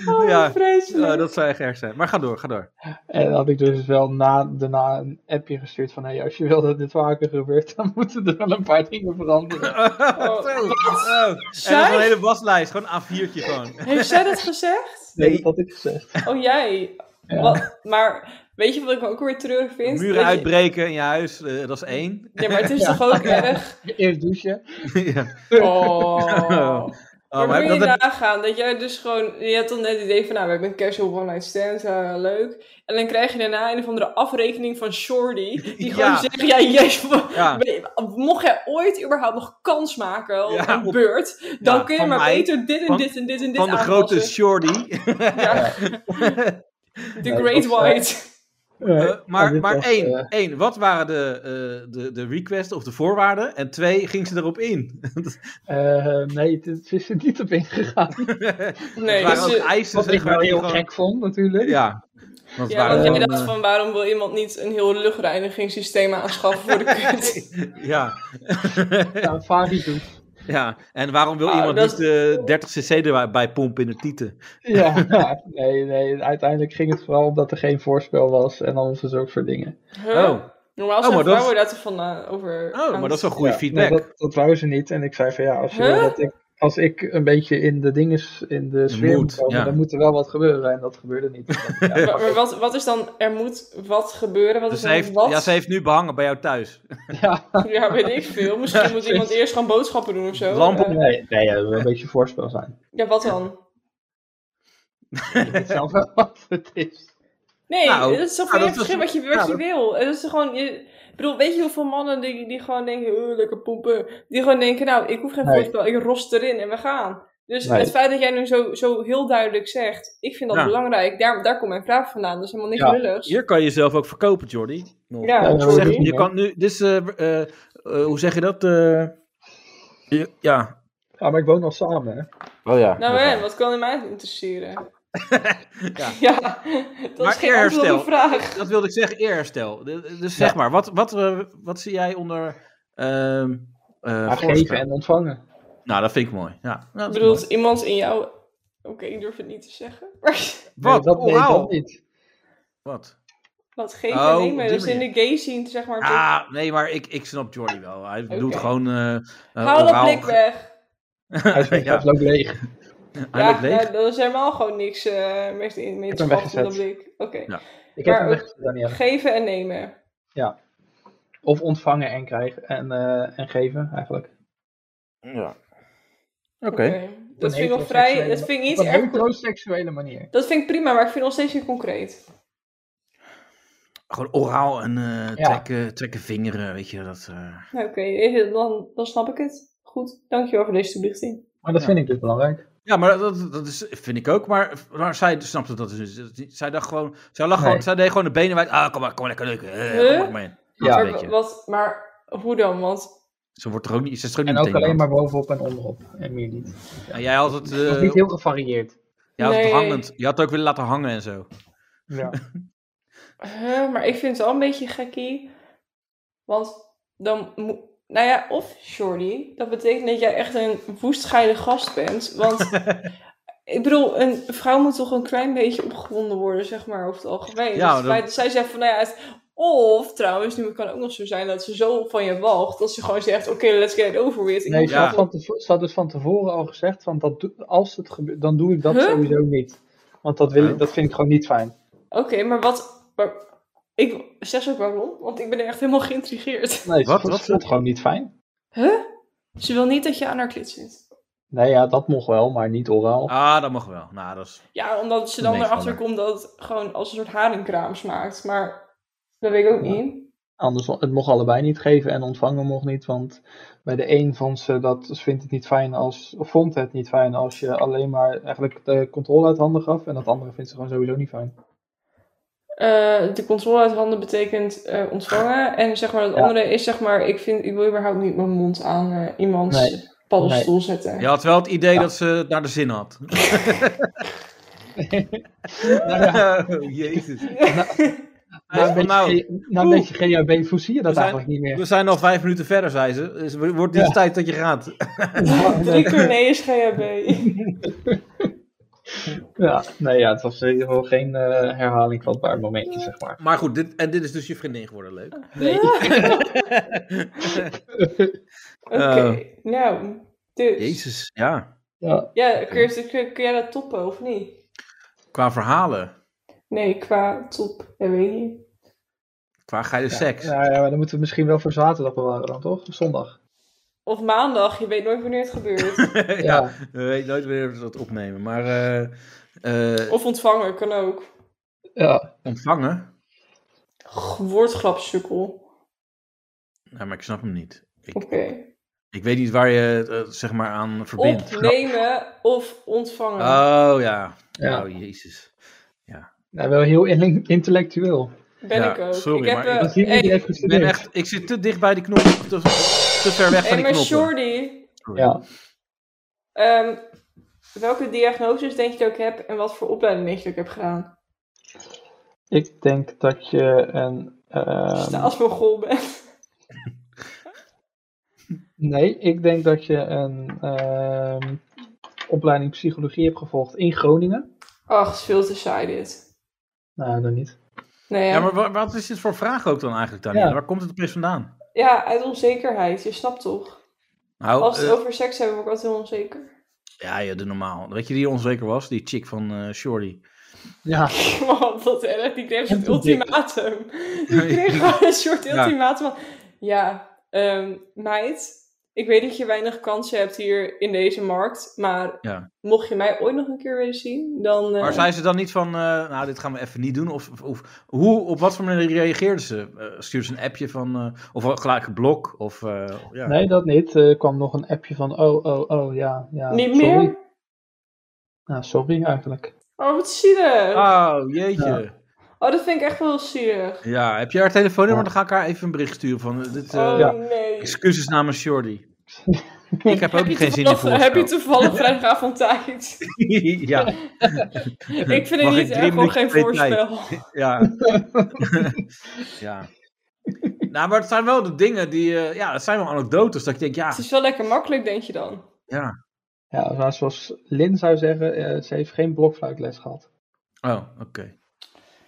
S3: Oh,
S2: Ja.
S3: vreselijk.
S2: Oh, dat zou echt erg zijn. Maar ga door, ga door.
S4: En dan had ik dus wel na, daarna een appje gestuurd van hé, hey, als je wil dat dit vaker gebeurt, dan moeten er wel een paar dingen veranderen.
S2: Oh, En dat is
S3: Zij?
S2: een hele waslijst, gewoon een A4'tje gewoon.
S3: Heeft zij dat gezegd?
S4: Nee, dat had ik gezegd.
S3: Oh, jij.
S4: Ja.
S3: Wat? Maar weet je wat ik ook weer terug vind?
S2: Muren
S3: Dat je-
S2: uitbreken in je huis, eh, dat is één.
S3: Ja, maar het is toch ook erg...
S4: Eerst douchen.
S2: ja.
S3: Oh.
S2: Oh,
S3: maar
S2: maar
S3: moet je
S2: dat het-
S3: nagaan dat jij dus gewoon... Je had dan net het idee van, nou, ik ben casual one night stand, eh, leuk. En dan krijg je daarna een of andere afrekening van Shorty. Die gewoon
S2: Ja.
S3: zegt, ja, yes,
S2: Ja.
S3: ben je- mocht jij ooit überhaupt nog kans maken op
S2: Ja,
S3: een
S2: op-
S3: beurt... dan
S2: ja,
S3: kun je
S2: van
S3: maar
S2: mij,
S3: beter dit en
S2: van-
S3: dit en dit en dit
S2: van de grote
S3: aanpassen.
S2: shorty.
S3: Ja. The Great
S4: dat, eh,
S3: White.
S2: Eh,
S4: Ja,
S2: maar
S4: dit
S2: maar
S4: was,
S2: één,
S4: eh,
S2: één, wat waren de, eh, de, de requests of de voorwaarden? En twee, ging ze erop in?
S4: eh, nee, het is er niet op ingegaan.
S2: Het
S3: Nee,
S2: waren
S3: dus,
S2: ook
S3: eh,
S2: eisen,
S4: Wat ik
S2: zeg maar,
S4: wel
S2: die
S4: heel
S2: gewoon-
S4: gek vond, natuurlijk.
S2: Ja, want het waren eh,
S3: ja, want jij
S2: gewoon,
S3: dacht van waarom wil iemand niet een heel luchtreinigingssysteem aanschaffen voor de kut?
S2: eh, ja,
S4: Ja, Fari doet.
S2: ja, en waarom wil
S3: Ah,
S2: iemand
S3: dat-
S2: niet de 30 cc erbij pompen in de tieten?
S4: Ja, ja, nee, nee, uiteindelijk ging het vooral omdat er geen voorspel was en alles was ook voor dingen.
S2: Oh,
S3: Huh? Normaal
S2: maar
S3: zijn
S2: dat-
S3: vrouwen daar te van eh, over
S2: oh, maar dat is wel goede
S4: Ja,
S2: feedback.
S4: maar dat, dat wou ze niet en ik zei van ja, als, je
S3: Huh?
S4: wil dat ik, als ik een beetje in de dinges, in de sfeer
S2: mood,
S4: moet komen,
S2: ja.
S4: dan moet er wel wat gebeuren en dat gebeurde niet.
S3: Maar, maar wat, wat is dan, er moet wat gebeuren? Wat
S2: Dus
S3: is
S2: ze
S3: dan
S2: heeft,
S3: wat?
S2: ja, ze heeft nu behangen bij jou thuis.
S4: ja,
S3: Ja, weet ik veel. Misschien moet iemand eerst gaan boodschappen doen of zo.
S2: Lamp op.
S3: Eh,
S4: nee, nee, er wil een beetje voorspel zijn.
S3: ja, wat dan?
S4: Ik weet zelf wel wat het is.
S3: Nee,
S2: Nou,
S3: dat is toch
S2: nou,
S3: weer
S2: dat was-
S3: verschil wat je, wat
S2: ja, dat-
S3: je wil. Het is toch gewoon, je, ik bedoel, weet je hoeveel mannen die, die gewoon denken, oh, lekker poepen. Die gewoon denken, nou, ik hoef geen
S4: Nee.
S3: voorspel, ik rost erin en we gaan. Dus
S4: Nee.
S3: het feit dat jij nu zo, zo heel duidelijk zegt, ik vind dat
S2: Ja.
S3: belangrijk. Daar, daar komt mijn vraag vandaan. Dat is helemaal niks
S4: Ja.
S3: lulligs.
S2: Hier kan je jezelf ook verkopen, Jordi. Nog.
S3: Ja,
S4: Ja,
S2: Ze zegt,
S4: Jordi.
S2: je kan nu, dus, eh, eh, eh, hoe zeg je dat? Eh, je- ja,
S4: Ja, Ah, maar ik woon nog samen, hè.
S9: Oh ja.
S3: Nou hè, wat kan in mij interesseren?
S2: Ja.
S3: ja. dat
S2: Maar
S3: is geen antwoord
S2: eerherstel.
S3: op de vraag.
S2: dat wilde ik zeggen, eerherstel. De- Dus zeg maar, wat, wat, eh, wat zie jij onder... ehm, eh,
S4: Ja,
S2: voorspel?
S4: geven en ontvangen.
S2: Nou, dat vind ik mooi. Ja.
S3: Ik
S2: Nou, dat is
S3: bedoel,
S2: mooi.
S3: iemand in jou... Oké, ik durf het niet te zeggen. Maar
S4: Nee,
S2: Wat?
S4: dat, nee,
S2: Oraal?
S4: dat niet.
S2: Wat?
S3: wat geven
S2: Oh,
S3: en
S2: op
S3: nemen,
S2: die
S3: dat is in
S2: manier.
S3: de gay scene, zeg maar.
S2: Ah, nee, maar ik, ik snap Jordi wel. Hij doet gewoon... eh eh,
S3: Haal dat
S2: oraal-
S3: blik weg.
S4: Hij is
S2: Ja.
S4: ja. loopt leeg.
S2: Hij
S3: ja,
S2: loopt leeg.
S3: nou, dat is helemaal gewoon niks eh mee te mee te schaffen, dat
S4: hem weggezet.
S3: blik. Oké,
S2: Ja.
S4: Ik heb
S3: Maar
S4: hem
S3: ook-
S4: weggezet, Danielle.
S3: geven en nemen.
S4: Of ontvangen en krijgen en, eh, en geven, eigenlijk.
S2: Ja. Oké.
S3: Oké. Dat vind ik wel vrij... Dat vind ik niet
S4: Op een
S3: erg...
S4: heteroseksuele manier.
S3: Dat vind ik prima, maar ik vind het nog steeds niet concreet.
S2: Gewoon oraal en eh,
S4: Ja.
S2: trekken, trekken vingeren, weet je. Dat, eh.
S3: Nou, Oké, eh, dan, dan snap ik het. Goed, dankjewel voor deze toelichting.
S4: Maar dat
S2: Ja.
S4: vind ik dus belangrijk.
S2: Ja, maar dat, dat is, vind ik ook. Maar, maar zij snapte dat dus niet. Zij dacht gewoon... Zij, lag
S4: Nee.
S2: gewoon, zij deed gewoon de benen wijd. Ah, kom maar, kom maar lekker leuk. Eh,
S3: Huh?
S2: kom maar, man. Dat
S4: Ja.
S2: een
S3: maar,
S2: beetje.
S3: wat, maar hoe dan? Want
S2: Ze wordt er ook niet... Ze is er ook
S4: En
S2: niet
S4: ook alleen
S2: meteen
S4: maar bovenop en onderop. En meer niet.
S2: aan. En jij had het, eh,
S4: Het is niet heel gevarieerd.
S2: jij had het
S3: Nee.
S2: hangend. Je had het ook willen laten hangen en zo.
S4: Ja.
S3: Huh, maar ik vind het wel een beetje gekkie. Want dan moet... Nou ja, of Shorty. Dat betekent dat jij echt een woestgeile gast bent. Want ik bedoel, een vrouw moet toch een klein beetje opgewonden worden, zeg maar, over het algemeen.
S2: Ja,
S3: dus het
S2: dat-
S3: feit dat zij zegt van, nou ja... het- Of, trouwens, nu kan het ook nog zo zijn dat ze zo van je walgt... dat ze gewoon zegt, oké, let's get it over with. Ik
S4: Nee,
S3: moet-
S4: ze,
S2: Ja.
S4: had van tevo- ze had dus van tevoren al gezegd: van dat doe- als het gebeurt, dan doe ik dat
S3: Huh?
S4: sowieso niet. Want dat, wil ik,
S2: Huh?
S4: dat vind ik gewoon niet fijn.
S3: Oké, maar wat... Maar, ik zeg ze ook waarom, want ik ben echt helemaal geïntrigeerd.
S4: Nee, ze
S2: Wat?
S4: vond-
S2: Wat?
S4: ze vond het gewoon niet fijn.
S3: Ze wil niet dat je aan haar klit zit.
S4: Nee, ja, dat mocht wel, maar niet oraal.
S2: Ah, dat mag wel. Nou, dat is...
S3: Ja, omdat ze dan
S2: Nee,
S3: erachter
S2: gewoon.
S3: komt dat het gewoon als een soort haringkraam smaakt. Maar dat weet ik ook
S4: Ja.
S3: niet.
S4: Anders, het mocht allebei niet geven en ontvangen mocht niet. Want bij de een vond ze dat, ze vindt het niet fijn als, of vond het niet fijn als je alleen maar eigenlijk de controle uit handen gaf. En dat andere vindt ze gewoon sowieso niet fijn.
S3: Eh, de controle uit handen betekent eh, ontvangen. En zeg maar, het
S4: Ja.
S3: andere is zeg maar, ik, vind, ik wil überhaupt niet mijn mond aan eh, iemands
S4: Nee.
S3: paddenstoel zetten.
S2: Je had wel het idee dat ze het naar de zin had. Oh, jezus.
S4: Na een,
S2: Nou,
S4: beetje,
S2: nou,
S4: G- na een
S2: oeh.
S4: beetje GHB voel je dat
S2: We zijn-
S4: eigenlijk niet meer.
S2: we zijn al vijf minuten verder, zei ze. Dus het wordt niet
S4: Ja.
S2: de tijd dat je gaat.
S3: Drie keer nee is GHB.
S4: Ja, nee, ja, het was in ieder geval geen eh, herhaling van een paar momentjes, zeg maar.
S2: Maar goed, dit, en dit is dus je vriendin geworden, leuk.
S4: Nee.
S3: Oké,
S2: Eh.
S3: nou. Dus.
S2: Jezus, ja.
S4: Ja,
S3: Ja, kun, je- kun, kun jij dat toppen of niet?
S2: Qua verhalen,
S3: Nee, qua top, dat weet ik niet.
S2: qua geile seks.
S4: nou ja, maar dan moeten we misschien wel voor zaterdag bewaren dan, toch? Zondag.
S3: Of maandag, je weet nooit wanneer het gebeurt.
S2: ja, we weten nooit wanneer we dat opnemen. Maar eh, eh,
S3: of ontvangen, kan ook.
S4: Ja.
S2: ontvangen?
S3: G- Woordgrapsukkel.
S2: Nou, maar ik snap hem niet. Ik,
S3: Oké.
S2: ik weet niet waar je het eh, zeg maar aan verbindt.
S3: Opnemen of ontvangen.
S2: Oh ja.
S4: Ja.
S2: Oh jezus.
S4: Nou, wel heel in- intellectueel.
S3: ben
S2: ja,
S3: ik ook.
S2: sorry,
S3: ik heb,
S2: maar ik-
S4: Dat
S3: eh,
S4: hier
S3: hey,
S4: niet heeft
S2: Ik, ben
S4: gestudeerd.
S2: echt, ik zit te dicht bij die knop, te, te ver weg
S3: hey,
S2: van die
S3: maar
S2: knoppen.
S3: Shorty,
S2: Sorry.
S4: Ja.
S3: ehm, welke diagnoses denk je dat ik heb en wat voor opleiding denk je dat ik heb gedaan?
S4: Ik denk dat je een.
S3: Als
S4: ehm,
S3: je staatsmogol bent.
S4: nee, ik denk dat je een ehm, opleiding psychologie hebt gevolgd in Groningen.
S3: Ach, het is veel te saai dit.
S4: Nou, dan niet.
S3: Nee,
S2: Ja, maar wa- wat is dit voor vraag ook dan eigenlijk, Daniel?
S4: Ja.
S2: Waar komt het opeens vandaan?
S3: ja, uit onzekerheid, je snapt toch?
S2: Nou,
S3: Als we
S2: eh,
S3: het over seks hebben, word ik altijd heel onzeker.
S2: ja, ja, de normaal. Weet je die onzeker was? Die chick van eh Shorty.
S4: Ja,
S3: Man, dat erg. Die kreeg zo'n
S4: En toen dik.
S3: ultimatum. Die kreeg gewoon een soort
S2: Ja.
S3: ultimatum van... Ja, ehm, meid, ik weet dat je weinig kansen hebt hier in deze markt, maar
S2: Ja.
S3: mocht je mij ooit nog een keer willen zien, dan... eh,
S2: Maar zei ze dan niet van, eh, nou, dit gaan we even niet doen? Of, of- of hoe, op wat voor manier reageerde ze? Eh, stuurde ze een appje van, eh, of wel gelijk een blok? Of, eh, ja.
S4: nee, dat niet. Eh, Er kwam nog een appje van. Oh, oh, oh, ja. ja
S3: Niet
S4: sorry.
S3: meer?
S4: Nou, sorry eigenlijk.
S3: Oh, wat zielig.
S2: Oh, jeetje.
S3: Oh, dat vind ik echt wel zielig.
S2: Ja, heb je haar telefoonnummer?
S4: Ja.
S2: Dan ga ik haar even een bericht sturen van, eh, dit, eh,
S3: Oh,
S4: ja.
S3: nee.
S2: excuses namens Shorty. Ik heb ook
S3: je
S2: geen zin in
S3: toevallig-
S2: voor
S3: Heb je toevallig vrijdagavond tijd?
S2: Ja,
S3: ik vind het
S2: Mag
S3: niet
S2: ik drie
S3: erg, gewoon geen
S2: minuten tijd?
S3: voorspel.
S2: ja. ja. Nou, maar het zijn wel de dingen die, eh, ja, het zijn wel anekdotes dat ik denk, ja,
S3: Het is wel lekker makkelijk, denk je dan?
S2: ja.
S4: Ja, maar zoals Lin zou zeggen, eh, ze heeft geen blokfluitles gehad.
S2: Oh, oké.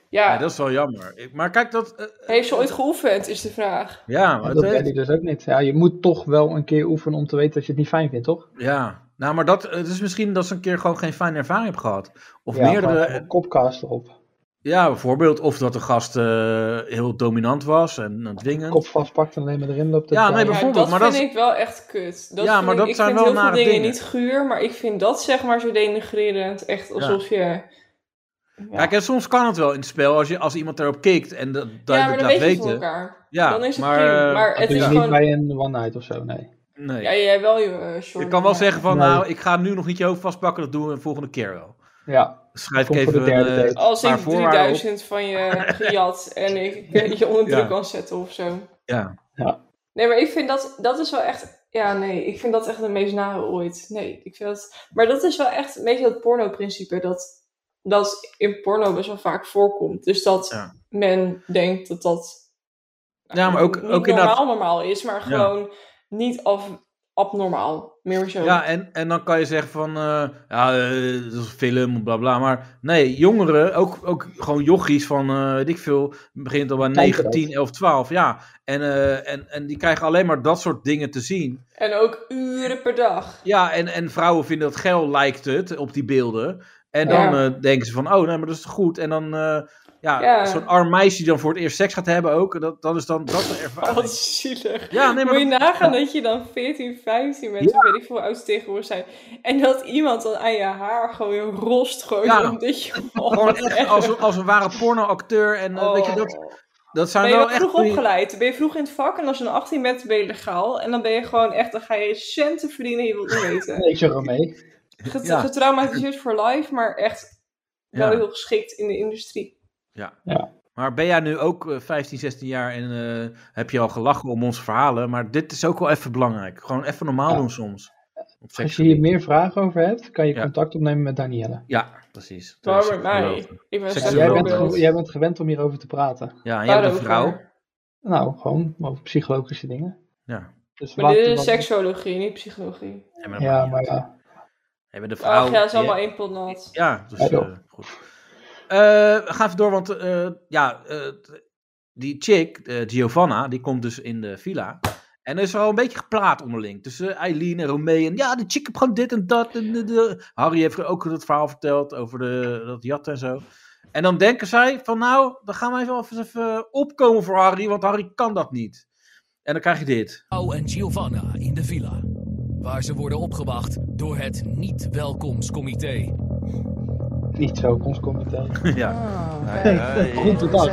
S3: Ja,
S2: Ja, dat is wel jammer. Ik- Maar kijk, dat, eh,
S3: heeft ze ooit geoefend, is de vraag.
S2: ja,
S4: Ja,
S2: maar
S4: dat
S2: het
S4: weet
S2: heeft-
S4: hij dus ook niet. Ja, je moet toch wel een keer oefenen om te weten dat je het niet fijn vindt, toch?
S2: ja. Nou, maar dat, het is misschien dat ze een keer gewoon geen fijne ervaring hebben gehad. Of
S4: ja,
S2: meerdere,
S4: gewoon een Kopcast erop.
S2: ja, bijvoorbeeld, of dat de gast eh, heel dominant was en eh, dwingend.
S4: Kop vastpakt en alleen maar erin loopt.
S2: Ja, nee,
S4: maar...
S3: Ja,
S2: bijvoorbeeld,
S3: dat
S2: maar
S3: vind
S2: dat-
S3: ik wel echt kut. Dat
S2: Ja,
S3: vind
S2: maar
S3: ik,
S2: dat
S3: ik
S2: zijn
S3: vind
S2: wel
S3: heel veel
S2: nare
S3: dingen,
S2: dingen.
S3: niet guur, maar ik vind dat zeg maar zo denigrerend. Echt alsof je... Ja.
S2: Kijk, en soms kan het wel in het spel als, je, als iemand erop kikt en dat
S3: Ja, maar
S2: duidelijk
S3: dan
S2: laat
S3: weet je van
S2: weten.
S3: elkaar.
S2: Ja,
S3: dan is het
S2: maar,
S3: prima. Maar
S2: eh,
S3: het
S4: Het is
S3: is
S2: ja.
S4: niet
S3: gewoon...
S4: bij een one-night of zo, nee.
S2: nee.
S3: Ja, jij wel, eh, je short.
S2: Ik kan wel zeggen van,
S4: Nee.
S2: nou, ik ga nu nog niet je hoofd vastpakken, dat doen we een volgende keer wel.
S4: Ja,
S2: Schrijf ik
S4: Komt voor
S2: even
S4: de derde
S2: een, eh,
S4: date.
S3: Als ik
S2: paar voorwaarden op.
S3: 3000 van je gejat en ik eh, je onder druk
S2: Ja.
S3: kan zetten of zo.
S2: Ja.
S3: Nee, maar ik vind dat, dat is wel echt... Ja, nee, ik vind dat echt de meest nare ooit. Nee, ik vind dat... Maar dat is wel echt een beetje dat porno-principe dat, dat in porno best wel vaak voorkomt. Dus dat
S2: Ja.
S3: men denkt dat dat...
S2: Ja, maar ook-
S3: niet
S2: ook
S3: normaal
S2: inderdaad-
S3: normaal is, maar gewoon niet af, abnormaal. Meer zo.
S2: ja, en, en dan kan je zeggen van, eh, ja, eh, dat is een film, bla bla. Maar nee, jongeren, ook, ook gewoon jochies van, eh, weet ik veel, begint al bij
S4: Kijken
S2: 9,
S4: dat.
S2: 10, 11, 12, ja. En, eh, en, en die krijgen alleen maar dat soort dingen te zien.
S3: En ook uren per dag.
S2: Ja, en, en vrouwen vinden dat geil, lijkt het, op die beelden. En dan
S3: Ja.
S2: eh, denken ze van, oh, nee, maar dat is toch goed. En dan, eh, ja,
S3: Ja.
S2: zo'n arm meisje die dan voor het eerst seks gaat hebben ook, dat, dat is dan dat de ervaring.
S3: Wat zielig.
S2: Ja, nee, maar
S3: Moet je
S2: dat-
S3: nagaan dat je dan 14, 15 bent, of weet ik veel hoe oud ze tegenwoordig zijn. En dat iemand dan aan je haar gewoon een rost gooit,
S2: Ja.
S3: omdat je
S2: gewoon echt als, een- als een ware pornoacteur. En eh,
S3: Oh.
S2: weet je, dat, dat zijn
S3: ben je
S2: wel
S3: wel
S2: echt...
S3: vroeg
S2: goeie-
S3: opgeleid? Ben je vroeg in het vak en als je een 18 bent ben je legaal. En dan ben je gewoon echt, dan ga je centen verdienen, je wilt niet weten.
S4: weet je wel mee.
S3: Get-
S2: Ja.
S3: Getraumatiseerd voor life, maar echt wel
S2: Ja.
S3: heel geschikt in de industrie.
S2: Maar ben jij nu ook eh, 15, 16 jaar en eh, heb je al gelachen om onze verhalen? Maar dit is ook wel even belangrijk. Gewoon even normaal
S4: Ja.
S2: doen soms. Op
S4: Als
S2: seks.
S4: je hier meer vragen over hebt, kan je
S2: Ja.
S4: contact opnemen met Danielle.
S2: Ja, precies.
S3: Maar
S2: Dat
S3: met
S2: is
S3: mij,
S2: geweldig.
S3: ik ben
S2: Seks
S3: zo'n
S4: Ja,
S2: is
S4: jij,
S2: wel
S4: bent,
S2: belangrijk.
S3: voorbeeld.
S4: jij bent gewend om hierover te praten.
S2: Ja, en jij bent een
S3: Waarover?
S2: vrouw.
S4: Nou, gewoon over psychologische dingen.
S2: Ja.
S3: Maar
S4: Dus
S3: dit
S4: laten we
S3: is
S4: dan-
S3: seksologie, niet psychologie.
S2: Ja, maar,
S4: Ja, maar ja.
S2: Jij bent een vrouw.
S3: Ach ja, is
S2: die-
S3: allemaal één pot nat.
S2: Ja, dus
S4: Ja, joh.
S2: eh, goed. Eh, we gaan even door, want eh, ja, eh, die chick, eh, Giovanna, die komt dus in de villa. En er is al een beetje gepraat onderling. Tussen Eileen en Romee. En ja, de chick heeft gewoon dit en dat. En, de- de- Harry heeft ook het verhaal verteld over de, dat jat en zo. En dan denken zij van nou, dan gaan wij wel even, even opkomen voor Harry, want Harry kan dat niet. En dan krijg je dit.
S6: Pau en Giovanna in de villa. Waar ze worden opgewacht door het niet-welkomscomité.
S4: Niet zo, ons comité.
S2: ja.
S4: Rond de dag.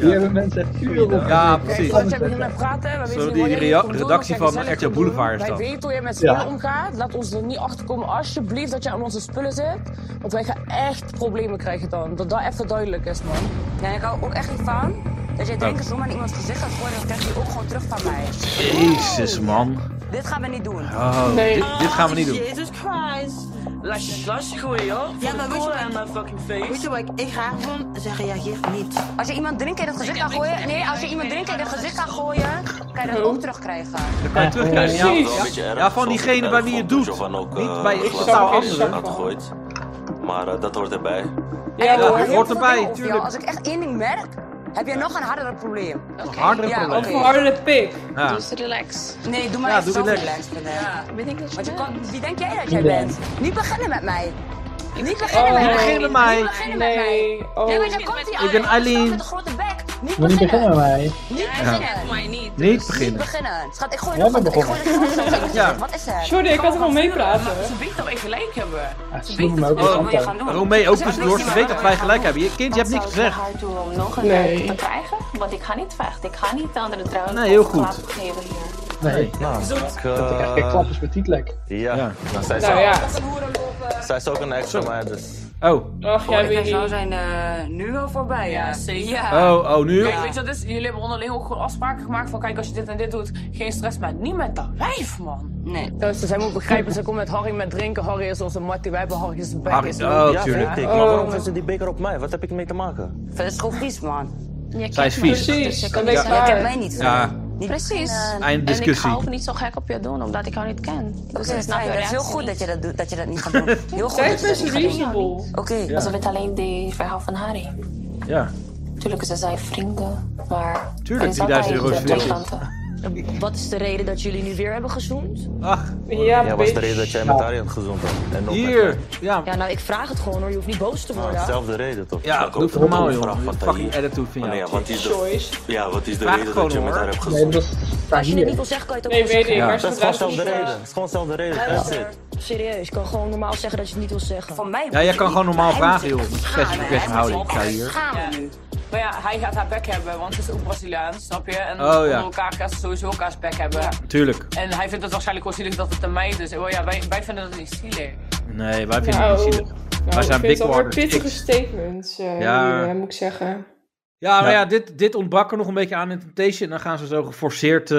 S4: Hier hebben mensen echt uren op.
S2: ja, precies.
S7: Laat jij beginnen praten. We
S2: Zo,
S7: weten
S2: die
S7: niet
S2: rea- redactie van RTL
S7: RTL
S2: Boulevard is
S7: Wij
S2: dat.
S7: weten hoe je met
S4: Ja.
S7: z'n omgaat. Laat ons er niet achter komen, alsjeblieft, dat je aan onze spullen zit. Want wij
S8: eh,
S7: gaan echt problemen krijgen dan. Dat dat even duidelijk is, man.
S8: Ja, ik hou ook echt niet van dat jij drinken
S2: Oh.
S8: zomaar in iemands gezicht gaat gooien. Dan krijg je ook gewoon terug van mij.
S2: Jezus, man.
S8: Dit gaan we niet doen.
S2: Oh,
S3: Nee.
S2: dit, dit gaan we niet doen.
S7: Jesus Christ. Laat je glas gooien, hoor.
S11: Ja, maar weet je wat-
S7: mijn fucking
S11: Weet
S7: face.
S11: je wat ik, ik ga gewoon zeggen, reageer niet.
S8: Als je iemand drinken in het gezicht gaat gooien. Nee, als je iemand drinken in het gezicht gaat gooien. kan je dat ook terugkrijgen.
S2: Dan kan je terugkrijgen. Ja,
S3: Precies.
S2: ja, ja, van diegene bij wie je het doet. Niet bij
S3: Ik
S2: totaal
S3: zou
S2: anderen.
S3: zeggen.
S9: Maar eh, dat hoort erbij.
S3: Ja,
S2: Ja, hoort
S8: Heel veel
S3: hoor.
S8: dingen
S2: erbij,
S8: over jou.
S2: tuurlijk.
S8: Als ik echt één ding merk, heb je nog een harder probleem.
S2: Een hardere
S8: Ja,
S2: probleem.
S8: oké.
S3: Harde pik.
S2: Ja.
S8: Relax. Nee, doe maar
S2: Ja,
S8: even
S2: doe
S8: zelf
S2: relax.
S8: relaxed, meneer. Want je kan, wie denk jij dat jij
S4: Iedereen.
S8: bent? Niet beginnen met mij. Niet beginnen
S3: Oh,
S8: met
S3: nee.
S8: mij.
S2: Begin met mij.
S8: Niet beginnen met mij.
S3: Nee. Oh.
S8: Nee, want dan komt die
S2: Ik ben
S8: oude
S2: Eileen.
S8: met een grote bek. Niet
S4: Moet niet beginnen
S8: beginnen.
S4: met mij.
S8: Niet beginnen.
S2: Niet
S8: Niet
S2: beginnen.
S8: beginnen. Schat, ik gooi
S4: Jij
S8: nog
S4: bent
S8: wat. Ik gooi
S4: begonnen.
S8: nog wat.
S2: Ja.
S8: Wat is het?
S3: Sorry, ik had er wel mee praten.
S7: weet dat wij gelijk hebben.
S4: Ja, Ze doen me ook eens
S8: Wat wil je
S4: aan.
S8: gaan doen?
S2: Romee, ook tussendoor. Ze weet dat wij gelijk hebben. Je kind, je hebt niks gezegd.
S8: haar doen om nog een
S3: Nee.
S8: te krijgen? Want ik ga niet vechten. Ik ga niet aan de drank
S2: Nee, heel
S8: of
S2: goed.
S8: klap geven hier.
S4: Nee,
S9: Nou, ik, eh,
S4: dat ik echt geen klap is met Tietlek.
S9: Ja,
S2: Ja.
S9: Nou, zij, is
S3: Nou
S9: ook,
S3: ja.
S9: zij is ook een ex van mij, dus...
S2: Oh,
S3: Ach, jij
S8: Wij
S3: weet
S8: zou
S3: niet.
S8: zijn eh, nu al voorbij.
S7: Ja,
S8: hè?
S7: zeker.
S8: Ja.
S2: oh, oh, nu?
S7: Kijk, weet je wat is? Jullie hebben onderling ook gewoon afspraken gemaakt van kijk, als je dit en dit doet, geen stress, maar niet met dat wijf, man.
S8: Nee.
S7: Dus zij moet begrijpen, ze komt met Harry met drinken, Harry is onze mattie, wij hebben Harry's bek.
S2: Harry- oh,
S9: ja,
S2: tuurlijk.
S9: weet ik. Maar waarom zet ze die beker op mij? Wat heb ik mee te maken?
S8: Dat is gewoon vies, man.
S2: Zij is
S11: Dus
S2: vies.
S3: Precies, dat weet
S8: Dat
S3: ik
S8: kent mij
S3: waar.
S8: niet.
S2: Ja,
S8: Precies.
S2: einddiscussie.
S11: niet zo gek op je doen, omdat ik jou niet ken.
S8: Oké, fijn. Dat is heel goed dat je dat, doet, dat je dat niet gaat doen. Heel goed
S3: Zij
S8: dat
S3: is
S8: je
S3: best
S8: dat niet gaat doen.
S3: reasonable.
S8: Oké.
S11: Ze weet alleen die verhaal van Harry.
S2: Ja,
S11: Natuurlijk, ze zijn vrienden, maar...
S2: tuurlijk. 3000 euro is veel.
S11: Wat is de reden dat jullie nu weer hebben gezoend?
S2: Ach,
S9: Ja,
S3: Ja,
S9: was de
S3: bitch.
S9: reden dat jij met haar had gezoend hebt. En nog met mij.
S2: hier. Ja,
S11: Ja, nou, ik vraag het gewoon hoor. Je hoeft niet boos te
S9: Nou,
S11: worden.
S9: Hetzelfde reden, toch?
S2: ja
S9: Ik ook
S2: doe het
S9: ook
S2: normaal,
S9: een
S2: joh.
S9: vraag van
S2: Fucking
S9: Tahir.
S2: attitude van
S9: Van, ja,
S2: jou.
S9: wat is de,
S3: Choice.
S9: ja, wat is de
S2: Vraag
S9: reden
S2: gewoon,
S9: dat je met
S2: hoor.
S9: haar hebt
S4: Nee,
S9: gezoend?
S4: dat is daar
S11: Als je het niet
S4: hier.
S11: wil zeggen, kan je het ook
S3: Nee,
S11: gewoon
S3: weet ik.
S11: zeggen.
S2: Ja.
S3: Maar
S9: Dat is
S3: ze
S9: gewoon
S3: draagt
S9: dezelfde
S3: ons
S9: reden.
S3: na.
S9: Het is gewoon dezelfde reden. That's it.
S11: Serieus, ik kan gewoon normaal zeggen dat je het niet wil zeggen.
S8: Van mij
S2: Ja, jij kan gewoon normaal vragen, joh.
S8: Schaam je,
S2: Special
S8: hè?
S2: request houding, zei hier.
S8: Schaam je
S7: Ja.
S8: nu.
S7: Maar ja, hij gaat haar bek hebben, want ze is ook Braziliaan, snap je? En
S2: Oh,
S7: onder
S2: ja.
S7: elkaar gaan ze sowieso elkaars bek hebben.
S2: Tuurlijk.
S7: En hij vindt het waarschijnlijk wel zielig dat het een meid is. Oh ja, wij, wij vinden dat niet zielig.
S2: Nee, wij vinden het
S3: Nou,
S2: niet zielig.
S3: nou,
S2: zijn
S3: ik vind het
S2: big
S3: alweer
S2: waters.
S3: pittige
S2: Ik-
S3: statements, eh,
S2: Ja.
S3: hier, eh, moet ik zeggen.
S2: Ja, maar
S9: Ja.
S2: ja, dit, dit ontbrak er nog een beetje aan in Temptation. En dan gaan ze zo geforceerd eh,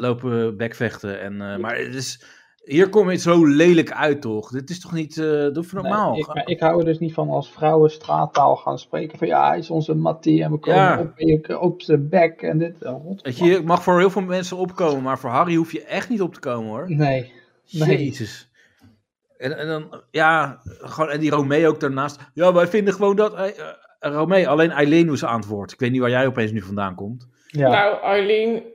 S2: lopen bekvechten. En, eh, maar het is, hier komt het zo lelijk uit, toch? Dit is toch niet... eh doe even normaal.
S4: Nee, ik, maar ik hou er dus niet van als vrouwen straattaal gaan spreken. Van ja, hij is onze Mattie en we komen
S2: Ja.
S4: op, je- op zijn bek en dit. Oh, rot,
S2: Weet je, je mag voor heel veel mensen opkomen, maar voor Harry hoef je echt niet op te komen, hoor.
S4: man. Nee. Nee.
S2: Jezus. En, en dan, ja, gewoon, en die Romeo ook daarnaast. Ja, wij vinden gewoon dat... eh, eh, Romeo, alleen Eileen was aan het woord. Ik weet niet waar jij opeens nu vandaan komt.
S4: Ja.
S3: Nou, Arlene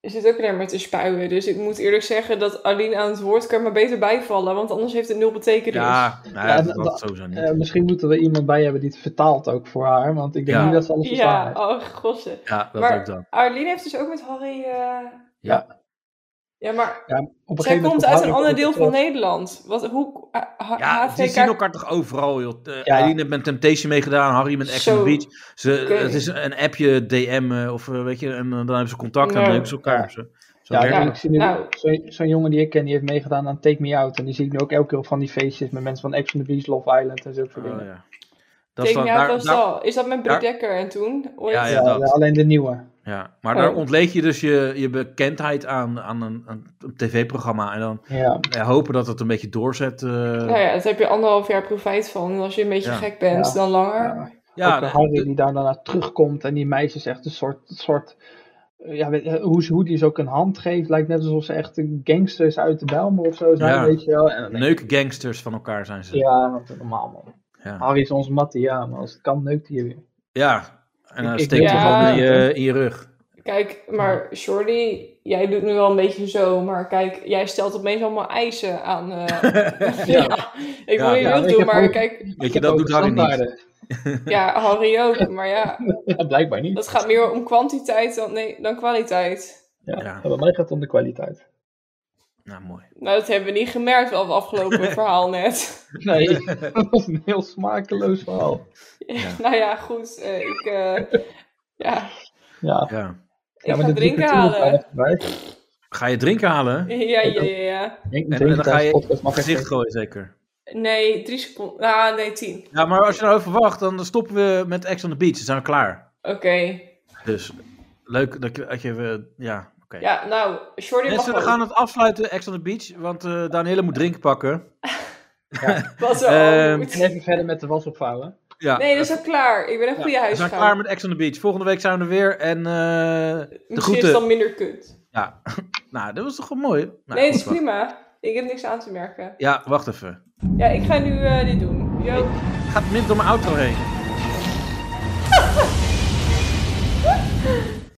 S3: zit ook weer maar te spuien. Dus ik moet eerlijk zeggen dat Arlene aan het woord kan maar beter bijvallen. Want anders heeft het nul betekenis.
S2: Ja, nou ja,
S4: Ja,
S2: dat,
S4: dat-
S2: dat sowieso niet.
S4: Eh, misschien moeten we iemand bij hebben die het vertaalt ook voor haar. Want ik denk
S2: Ja.
S4: niet dat ze alles verstaan
S3: ja
S4: heeft.
S3: oh gosse.
S2: ja, dat
S3: maar-
S2: ook dan.
S3: Arlene heeft dus ook met Harry... eh,
S2: Ja.
S3: Ja, maar
S4: Ja, op een
S3: zij
S4: gegeven moment
S3: komt uit
S4: op-
S3: een ander deel
S4: op-
S3: van Nederland. Wat, hoe... ha- ha-
S2: Ja,
S3: HVK
S2: die zien elkaar toch overal, joh. Eh,
S4: Ja.
S2: Eileen heeft met Temptation meegedaan, Harry met Ex on the
S3: Zo.
S2: Beach. Ze, eh,
S3: Oké.
S2: Het is een appje, DM eh, of eh, weet je, en eh, dan hebben ze contact en dan
S3: Nou.
S2: leuken ze elkaar. Zo, zo
S4: Ja,
S2: werkt
S4: ja,
S2: het.
S4: ik zie nu
S3: Nou.
S4: zo- zo'n jongen die ik ken, die heeft meegedaan aan Take Me Out. En die zie ik nu ook elke keer op van die feestjes met mensen van Action the Beach, Love Island en zulke soort
S2: Oh,
S4: dingen.
S2: ja. Dat
S3: Take
S2: is
S3: Me
S2: dan,
S3: Out
S2: daar,
S3: was
S2: daar-
S3: al. Is nou, dat met Britt
S2: daar-
S3: Dekker en toen? Ooit?
S2: Ja,
S4: Ja,
S2: ja, dat.
S4: ja, alleen de nieuwe.
S2: ja. Maar
S3: Oh.
S2: daar ontleed je dus je, je bekendheid aan, aan een, aan een tv-programma. En dan
S4: Ja.
S2: ja, hopen dat het een beetje doorzet. eh.
S3: Nou ja, daar heb je anderhalf jaar profijt van. En als je een beetje
S2: Ja.
S3: gek bent,
S4: Ja.
S3: dan langer.
S4: Ja.
S2: ja,
S4: ook
S2: de-
S4: een Harry
S2: de-
S4: die daar daarna terugkomt en die meisjes echt een soort, soort eh, ja, weet, eh, hoe, ze- hoe die ze ook een hand geeft, lijkt net alsof ze echt een gangsters uit de Bijlmer of zo zijn,
S2: Ja.
S4: weet je wel. En dan denk ik,
S2: neukgangsters van elkaar zijn ze. Ja.
S4: Ja, want normaal man. Harry is ons mattie, ja, maar als het kan neukt hij je weer.
S2: En dan
S4: Ik- ik-
S2: steekt je
S3: Ja.
S2: handen in je, in je rug.
S3: Kijk, maar Shorty, jij doet nu wel een beetje zo, maar kijk, jij stelt opeens allemaal eisen aan. eh, ja. ik
S2: Ja,
S3: wil je
S2: ja,
S3: wild
S4: ik
S3: doen,
S4: heb
S3: maar
S4: ook-
S3: kijk,
S2: Weet je,
S4: Ik
S2: dat
S4: heb
S2: doet
S4: ook
S2: Harry niet.
S4: standaarden.
S3: ja, Harry ook, maar ja,
S4: Ja, blijkbaar niet.
S3: dat gaat meer om kwantiteit dan, nee, dan kwaliteit.
S4: Ja. En bij mij gaat het om de kwaliteit.
S2: Nou, mooi.
S3: Nou, dat hebben we niet gemerkt al het afgelopen verhaal net.
S4: Nee, dat was een heel smakeloos verhaal.
S3: nou ja, goed. eh, ik, eh, ja.
S4: Ja.
S2: ja.
S3: Ik ga drinken halen.
S2: Ga je drinken halen?
S3: Ja, ja, ja, ja.
S2: En, en dan ga je in het gezicht gooien, zeker.
S3: Nee, drie seconden. Ah, nee, tien.
S2: Ja, maar als je nou even wacht, dan stoppen we met Ex on the Beach. Dan zijn we klaar.
S3: Oké.
S2: Dus leuk dat je... Dat je eh, ja, oké.
S3: Ja, nou, Shorty mag
S2: Mensen, we
S3: wel.
S2: gaan het afsluiten, Ex on the Beach. Want eh Danielle moet drinken pakken.
S3: Was
S2: Ehm,
S3: er al goed.
S4: En even verder met de was opvouwen.
S2: Ja.
S3: Nee, dat is al klaar. Ik ben een
S2: Ja,
S3: goede
S2: we zijn
S3: huisvrouw.
S2: klaar met Ex on the Beach. Volgende week zijn we er weer. En eh, de
S3: Misschien is het dan
S2: groeten.
S3: minder kut.
S2: Ja. nou, dat was toch wel mooi? Nou,
S3: nee, dat
S2: goed,
S3: is
S2: wacht.
S3: prima. Ik heb niks aan te merken.
S2: Ja, wacht even.
S3: Ja, ik ga nu eh, dit doen. Yo.
S2: Gaat min door mijn outro heen.